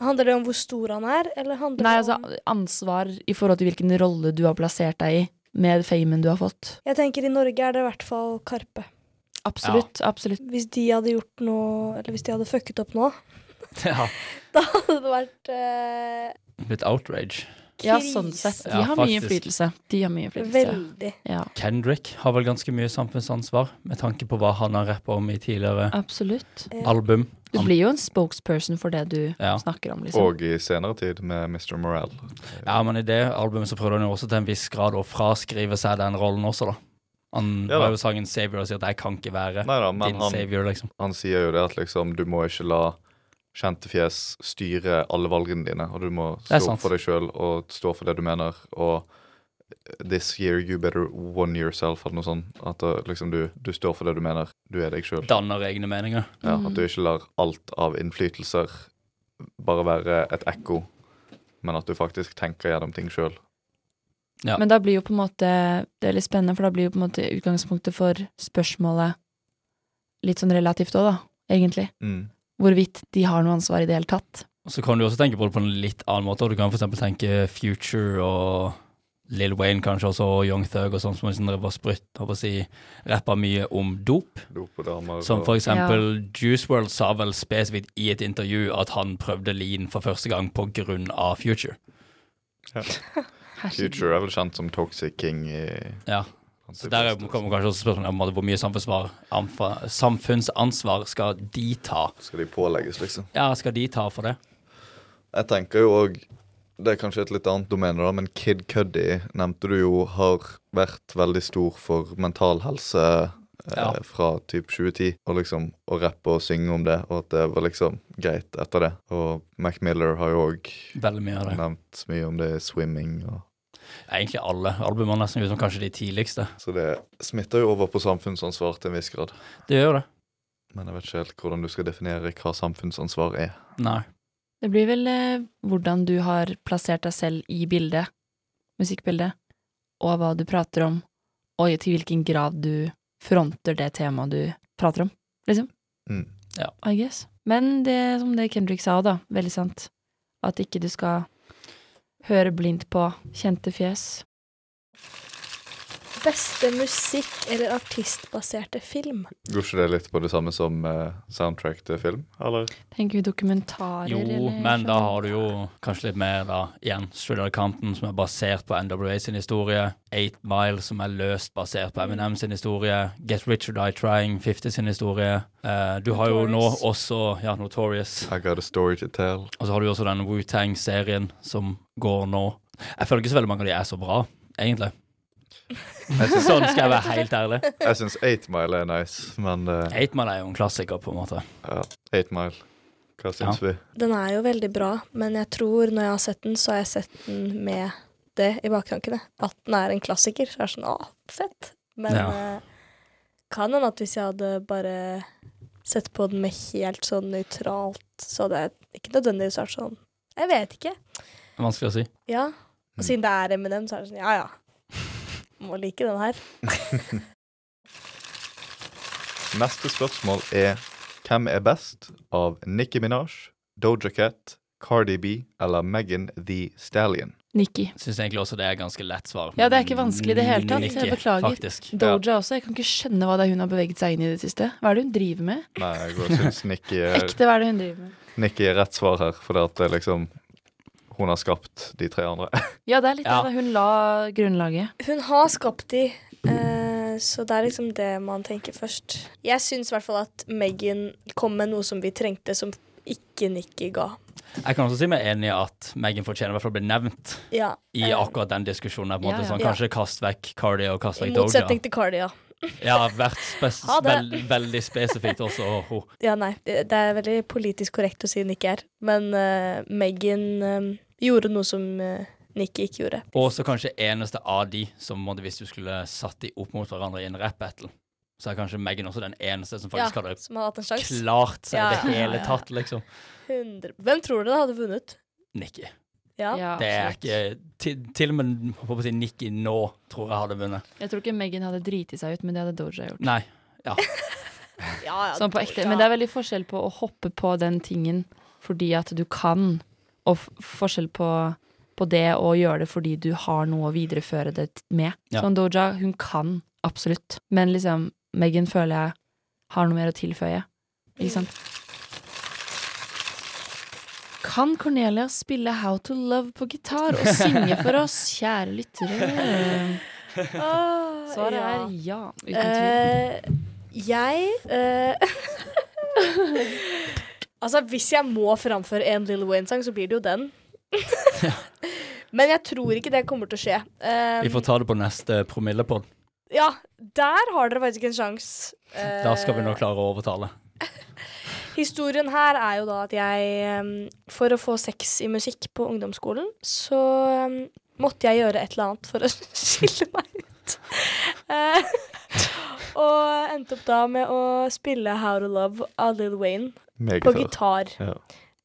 Speaker 3: Handler det om hvor stor han er, eller handler
Speaker 2: Nei,
Speaker 3: det
Speaker 2: altså
Speaker 3: om
Speaker 2: ansvar i forhold til hvilken rolle du har plassert deg i med famen du har fått.
Speaker 3: Jeg tenker i Norge er det i hvert fall Karpe.
Speaker 2: Absolutt. absolutt.
Speaker 3: Hvis de hadde gjort noe, eller hvis de hadde fucket opp nå,
Speaker 4: Ja,
Speaker 3: da hadde det vært eh,
Speaker 4: litt outrage.
Speaker 3: krise.
Speaker 2: Ja, sånn sett. De
Speaker 4: Ja,
Speaker 2: har mye
Speaker 4: faktisk.
Speaker 2: innflytelse. De har mye innflytelse.
Speaker 3: Veldig.
Speaker 2: Ja,
Speaker 4: Kendrick har vel ganske mye samfunnsansvar, med tanke på hva han har rappa om i tidligere
Speaker 2: absolutt.
Speaker 3: Ja.
Speaker 4: album.
Speaker 2: Du
Speaker 4: Han-
Speaker 2: blir jo en spokesperson for det du
Speaker 4: Ja.
Speaker 2: snakker om, liksom.
Speaker 1: Og i senere tid med Mr. Morale.
Speaker 4: ja, men i det albumet så prøvde han jo også til en viss grad å fraskrive seg den rollen også, da. Han
Speaker 1: Ja da.
Speaker 4: har jo sangen 'Savior' og sier at 'jeg kan ikke være
Speaker 1: Nei da, men
Speaker 4: din
Speaker 1: han,
Speaker 4: savior', liksom.
Speaker 1: han sier jo det at liksom du må ikke la kjente fjes styre alle valgene dine, og du må
Speaker 4: Det er
Speaker 1: stå
Speaker 4: sant.
Speaker 1: for deg sjøl og stå for det du mener, og This year you better one yourself, eller noe sånt. At da, liksom du, du står for det du mener. Du er deg sjøl.
Speaker 4: Danner egne meninger.
Speaker 1: Ja,
Speaker 2: Mm.
Speaker 1: at du ikke lar alt av innflytelser bare være et ekko, men at du faktisk tenker gjennom ting sjøl.
Speaker 4: Ja.
Speaker 2: Men da blir jo på en måte Det er litt spennende, for da blir jo på en måte utgangspunktet for spørsmålet litt sånn relativt òg, da, egentlig.
Speaker 1: Mm.
Speaker 2: Hvorvidt de har noe ansvar i det hele tatt.
Speaker 4: Og Så kan du også tenke på det på en litt annen måte. og Du kan f.eks. tenke Future og Lil Wayne kanskje også, og Young Thug og sånn som liksom drev og sprutt, holdt på å si, rappa mye om dop.
Speaker 1: Dop og damer
Speaker 4: Som
Speaker 1: og-
Speaker 4: for eksempel Juice World sa vel spesifikt i et intervju at han prøvde lean for første gang på grunn av Future.
Speaker 1: Future er vel kjent som Toxic King i
Speaker 4: Ja. Så der er- kommer kanskje også spørsmålet om hvor mye samfunnsansvar, amfa- samfunnsansvar skal de ta?
Speaker 1: Skal de pålegges, liksom?
Speaker 4: Ja, skal de ta for det?
Speaker 1: Jeg tenker jo òg Det er kanskje et litt annet domene, da, men Kid Cuddy nevnte du jo har vært veldig stor for mental helse eh,
Speaker 4: Ja.
Speaker 1: fra typ 2010. Og liksom å rappe og synge om det, og at det var liksom greit etter det. Og Mac Miller har jo òg
Speaker 4: Veldig mye av det.
Speaker 1: nevnt mye om det i swimming og
Speaker 4: Egentlig alle albumene, nesten utenom kanskje de tidligste.
Speaker 1: Så det smitter jo over på samfunnsansvar til en viss grad.
Speaker 4: Det gjør jo det.
Speaker 1: Men jeg vet ikke helt hvordan du skal definere hva samfunnsansvar er.
Speaker 4: Nei.
Speaker 2: Det blir vel eh, hvordan du har plassert deg selv i bildet, musikkbildet, og hva du prater om, og til hvilken grad du fronter det temaet du prater om, liksom.
Speaker 1: Mm.
Speaker 4: Ja.
Speaker 2: I guess. Men det som det Kendrick sa, da, veldig sant, at ikke du skal høre blindt på kjente fjes.
Speaker 3: Beste musikk- eller artistbaserte film?
Speaker 1: Går ikke det litt på det samme som eh, soundtrack til film? Eller?
Speaker 2: Tenker vi dokumentarer,
Speaker 4: Jo,
Speaker 2: eller
Speaker 4: men da har du jo kanskje litt mer, da. Igjen, Straight Outta Compton, som er basert på NWA sin historie. Eight Mile, som er løst basert på Eminem sin historie. Get Rich or Die Trying, 50 sin historie. Eh, du har jo nå
Speaker 3: Notorious.
Speaker 4: også ja, Notorious.
Speaker 1: I got a story to tell.
Speaker 4: Og så har du jo også den Wu-Tang-serien som går nå. Jeg føler ikke så veldig mange av de er så bra, egentlig.
Speaker 1: Jeg syns-
Speaker 4: Sånn skal jeg være helt ærlig.
Speaker 1: Jeg syns 8 Mile er nice, men eh,
Speaker 4: Hate Man er jo en klassiker, på en måte.
Speaker 1: ja, 8 Mile Hva syns vi?
Speaker 3: Den er jo veldig bra, men jeg tror når jeg har sett den, så har jeg sett den med det i baktankene. At den er en klassiker. Så er det sånn Å, fett. Men
Speaker 4: Ja.
Speaker 3: eh, kan hende at hvis jeg hadde bare sett på den med helt sånn nøytralt, så hadde jeg ikke nødvendigvis vært sånn Jeg vet ikke.
Speaker 4: Vanskelig å si.
Speaker 3: Ja. Og siden det er Eminem, så er det sånn Ja, ja. Må like den her.
Speaker 1: Neste spørsmål er Hvem er best av Nicki Minaj, Doja Cat, Cardi B eller Megan The Stallion?
Speaker 2: sånn? Nikki.
Speaker 4: Syns egentlig også det er ganske lett svar.
Speaker 2: Ja, det er ikke vanskelig i det hele tatt,
Speaker 4: Nikke,
Speaker 2: jeg beklager.
Speaker 4: Faktisk.
Speaker 2: Doja også. Jeg kan ikke skjønne hva det er hun har beveget seg inn i det siste. Hva er det hun driver med?
Speaker 1: Nei, jeg går- syns Nicki er,
Speaker 2: Ekte, hva er det hun driver med?
Speaker 1: Nicki er rett svar her, fordi at det er liksom Hun har skapt de tre andre.
Speaker 2: Ja, det er litt
Speaker 4: Ja.
Speaker 2: av det. Hun la grunnlaget.
Speaker 3: Hun har skapt de, eh, så det er liksom det man tenker først. Jeg syns i hvert fall at Megan kom med noe som vi trengte, som ikke Nikki ga.
Speaker 4: Jeg kan også si meg enig i at Megan fortjener i hvert fall å bli nevnt
Speaker 3: Ja,
Speaker 4: i
Speaker 3: eh,
Speaker 4: akkurat den diskusjonen. der, På en
Speaker 2: Ja,
Speaker 4: måte,
Speaker 2: ja.
Speaker 4: sånn,
Speaker 3: Ja.
Speaker 4: kanskje kast vekk Cardi og kast
Speaker 3: I
Speaker 4: vekk Doja.
Speaker 3: motsetning til Cardi, ja.
Speaker 4: Ja, vært spes
Speaker 3: Ha det.
Speaker 4: vel- veldig spesifikt også. og ho.
Speaker 3: ja. Nei, det det er veldig politisk korrekt å si Nikki er, men eh, Megan eh, gjorde noe som eh, Nikki ikke gjorde.
Speaker 4: Og så kanskje eneste av de som på en måte, hvis du skulle satt de opp mot hverandre i en rap-battle, så er kanskje Megan også den eneste som faktisk hadde
Speaker 3: som hadde hatt en sjanse.
Speaker 4: klart seg i
Speaker 3: Ja,
Speaker 4: det
Speaker 3: ja, ja,
Speaker 4: hele
Speaker 2: ja.
Speaker 4: tatt, liksom.
Speaker 3: 100. Hvem tror dere hadde vunnet?
Speaker 4: Nikki.
Speaker 3: Ja.
Speaker 4: Det er ikke Til, til og med jeg håper å si, Nikki nå tror jeg hadde vunnet.
Speaker 2: Jeg tror ikke Megan hadde driti seg ut, men det hadde Doja gjort.
Speaker 4: Nei.
Speaker 3: Ja, ja,
Speaker 2: Sånn på ekte.
Speaker 3: Doja.
Speaker 2: Men det er veldig forskjell på å hoppe på den tingen fordi at du kan, og f forskjell på, på det å gjøre det fordi du har noe å videreføre det t- med.
Speaker 4: Ja.
Speaker 2: Sånn Doja, hun kan absolutt, men liksom Megan føler jeg har noe mer å tilføye. Ikke sant? Kan Cornelia spille How to Love på gitar og synge for oss, kjære lyttere?
Speaker 3: Ah,
Speaker 2: Svaret
Speaker 3: ja.
Speaker 2: er ja, uten tvil.
Speaker 3: Eh, jeg eh, Altså, hvis jeg må framføre en Lill Wayne-sang, så blir det jo den. Men jeg tror ikke det kommer til å skje. Eh,
Speaker 4: Vi får ta det på neste promillepod.
Speaker 3: ja, der har dere faktisk en sjanse. Eh,
Speaker 4: Da skal vi nå klare å overtale.
Speaker 3: Historien her er jo da at jeg em, For å få sex i musikk på ungdomsskolen, så em, måtte jeg gjøre et eller annet for å skille meg ut. Eh, og endte opp da med å spille How to Love av Lill Wayne
Speaker 1: Meget
Speaker 3: på
Speaker 1: her.
Speaker 3: gitar
Speaker 1: Ja.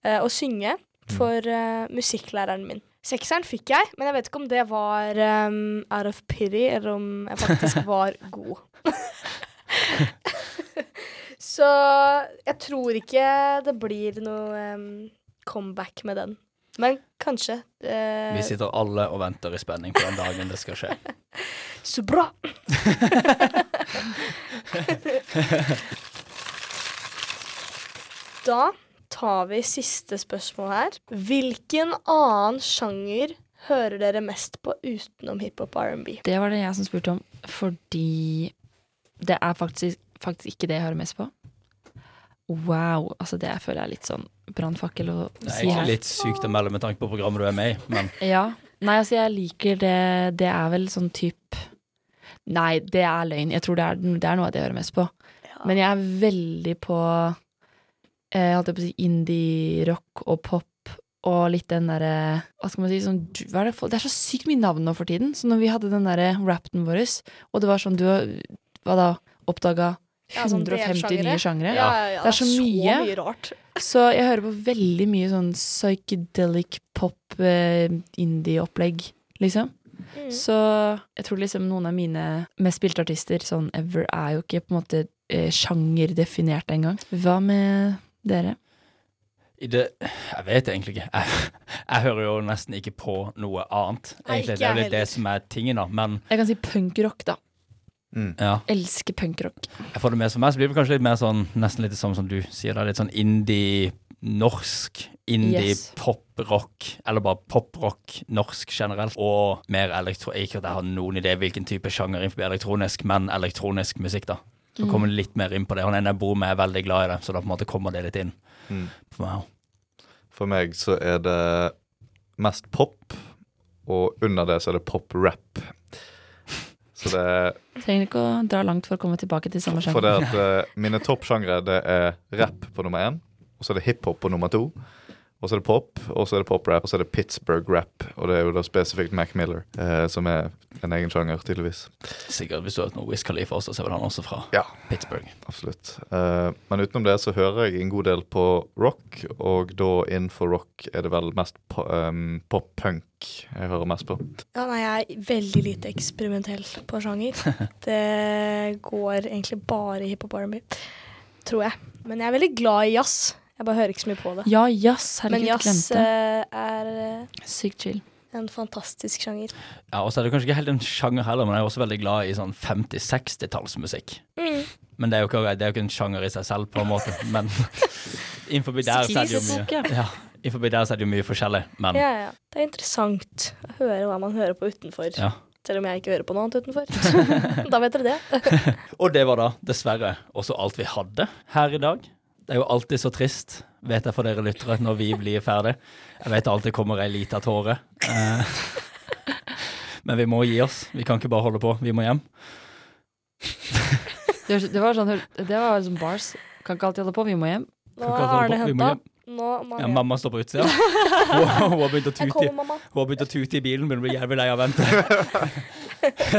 Speaker 3: eh, og synge for eh, musikklæreren min. Sekseren fikk jeg, men jeg vet ikke om det var em, out of pity, eller om jeg faktisk var god. Så jeg tror ikke det blir noe em, comeback med den. Men kanskje. eh,
Speaker 4: Vi sitter alle og venter i spenning på den dagen det skal skje.
Speaker 3: så bra! da tar vi siste spørsmål her. Hvilken annen sjanger hører dere mest på utenom hiphop og R&B?
Speaker 2: Det var det jeg som spurte om, fordi det er faktisk, faktisk ikke det jeg hører mest på. Wow. Altså, det jeg føler jeg er litt sånn brannfakkel å
Speaker 4: Det er
Speaker 2: si
Speaker 4: egentlig
Speaker 2: her.
Speaker 4: litt sykt å melde med tanke på programmet du er med i, men
Speaker 2: Ja. Nei, altså, jeg liker det Det er vel sånn type Nei, det er løgn. Jeg tror det er, det er noe av det jeg hører mest på. Men jeg er veldig på eh, holdt jeg på å si indie-rock og pop og litt den derre Hva skal man si sånn, du- hva er det, for- det er så sykt mye navn nå for tiden. Så når vi hadde den derre rappen vår, og det var sånn Du har hva da, oppdaga
Speaker 3: Ja, sånn
Speaker 2: 150
Speaker 3: delsjangere.
Speaker 2: nye sjangere.
Speaker 3: ja, ja,
Speaker 2: Det er så mye.
Speaker 3: så mye rart.
Speaker 2: Så jeg hører på veldig mye sånn psychedelic pop, eh, indie-opplegg, liksom.
Speaker 3: Mm.
Speaker 2: Så jeg tror liksom noen av mine mest spilte artister sånn ever er jo ikke på en måte eh, sjangerdefinert engang. Hva med dere?
Speaker 4: i det Jeg vet egentlig ikke. Jeg, jeg hører jo nesten ikke på noe annet.
Speaker 3: Nei,
Speaker 4: Egentlig,
Speaker 3: ikke
Speaker 4: det er jo
Speaker 3: jeg
Speaker 4: litt det
Speaker 3: heller.
Speaker 4: som er tingen, da. Men
Speaker 2: Jeg kan si punkrock, da.
Speaker 1: Mm.
Speaker 4: ja.
Speaker 2: Elsker punkrock.
Speaker 4: Jeg får det med for meg, så blir det kanskje litt mer sånn Nesten litt sånn som du sier, da. Litt sånn indie norsk. Indie
Speaker 2: Yes.
Speaker 4: poprock, eller bare poprock norsk generelt, og mer elektro... Ikke at jeg har noen idé hvilken type sjanger innenfor elektronisk, men elektronisk musikk, da. Så
Speaker 2: Mm.
Speaker 4: kommer det litt mer inn på det. Han ene jeg bor med, er veldig glad i det, så da på en måte kommer det litt inn
Speaker 1: Mm.
Speaker 4: på meg også.
Speaker 1: For meg så er det mest pop, og under det så er det pop-rap. Så det er
Speaker 2: Trenger ikke å dra langt for å komme tilbake til samme
Speaker 1: For
Speaker 2: sjanger.
Speaker 1: det at eh, mine toppsjangre det er rap på nummer én, og så er det hiphop på nummer to. Og så er det pop, og så er det poprap, og så er det Pittsburgh rap. Og det er jo da spesifikt Mac Miller, eh, som er en egen sjanger, tydeligvis.
Speaker 4: Sikkert hvis du har hørt noe Wiz Khalifa også, så er vel han også fra
Speaker 1: Ja.
Speaker 4: Pittsburgh.
Speaker 1: Absolutt. Eh, men utenom det så hører jeg en god del på rock, og da innenfor rock er det vel mest po ehm, pop-punk jeg hører mest på.
Speaker 3: Ja, nei, jeg er veldig lite eksperimentell på sjanger. Det går egentlig bare i hiphop og R&B, tror jeg. Men jeg er veldig glad i jazz. Jeg bare hører ikke så mye på det.
Speaker 2: Ja, jazz.
Speaker 3: Men
Speaker 2: Herregud,
Speaker 3: jazz
Speaker 2: glemte.
Speaker 3: eh, er eh,
Speaker 2: Sykt chill.
Speaker 3: en fantastisk sjanger.
Speaker 4: Ja, og så er det kanskje ikke helt en sjanger heller, men jeg er også veldig glad i sånn 50-60-tallsmusikk. Men det er, jo ikke, det er jo ikke en sjanger i seg selv, på en måte. Men innenfor der så er det jo mye.
Speaker 2: Stilsepoke.
Speaker 4: Ja, innenfor der så er det jo mye forskjellig, men
Speaker 3: Ja, ja. Det er interessant å høre hva man hører på utenfor.
Speaker 4: ja.
Speaker 3: Selv om jeg ikke hører på noe annet utenfor. da vet dere det.
Speaker 4: Og det var da dessverre også alt vi hadde her i dag. Det er jo alltid så trist, vet jeg for dere lyttere, når vi blir ferdig. Jeg vet det alltid kommer ei lita tåre. Eh, Men vi må gi oss. Vi kan ikke bare holde på. Vi må hjem.
Speaker 2: Det var- det var sånn det var liksom bars. Kan ikke alltid holde på, vi må hjem.
Speaker 3: Nå
Speaker 4: Kan ikke
Speaker 3: er
Speaker 4: holde
Speaker 3: Arne
Speaker 4: på. Vi må
Speaker 3: henta.
Speaker 4: hjem.
Speaker 3: Nå må
Speaker 4: Ja,
Speaker 3: han hjem.
Speaker 4: mamma står på utsida. Hun, hun har begynt å
Speaker 3: Jeg
Speaker 4: tute i-
Speaker 3: kommer, mamma.
Speaker 4: hun har begynt å tute i bilen, begynner å bli jævlig lei av å vente.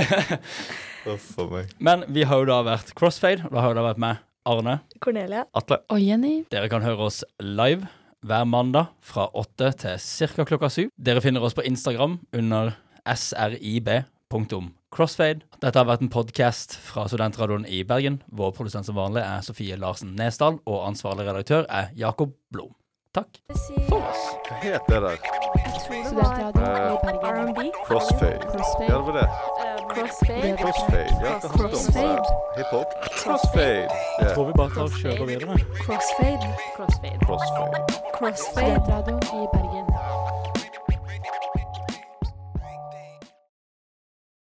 Speaker 1: Uff a meg.
Speaker 4: Men vi har jo da vært Crossfade. og Da har jo da vært med Arne.
Speaker 3: Cornelia.
Speaker 1: Atle.
Speaker 2: Og Jenny,
Speaker 4: Dere kan høre oss live hver mandag fra 8 til ca. klokka 7. Dere finner oss på Instagram under srib.crossfade. Dette har vært en podkast fra Studentradioen i Bergen. Vår produsent som vanlig er Sofie Larsen Nesdal, og ansvarlig redaktør er Jakob Blom. Takk for oss.
Speaker 1: Hva het det der? Eh,
Speaker 5: Studentradioen i Bergen.
Speaker 1: Crossfade. Ja, det
Speaker 5: Crossfade.
Speaker 1: var det.
Speaker 5: Crossfade.
Speaker 1: Crossfade. Ja, hva handler det om?
Speaker 5: Crossfade.
Speaker 1: Hiphop. Crossfade. Ja,
Speaker 4: Tror vi bare tar og kjører videre.
Speaker 5: Crossfade. Crossfade.
Speaker 1: crossfade.
Speaker 5: Studentradioen i Bergen.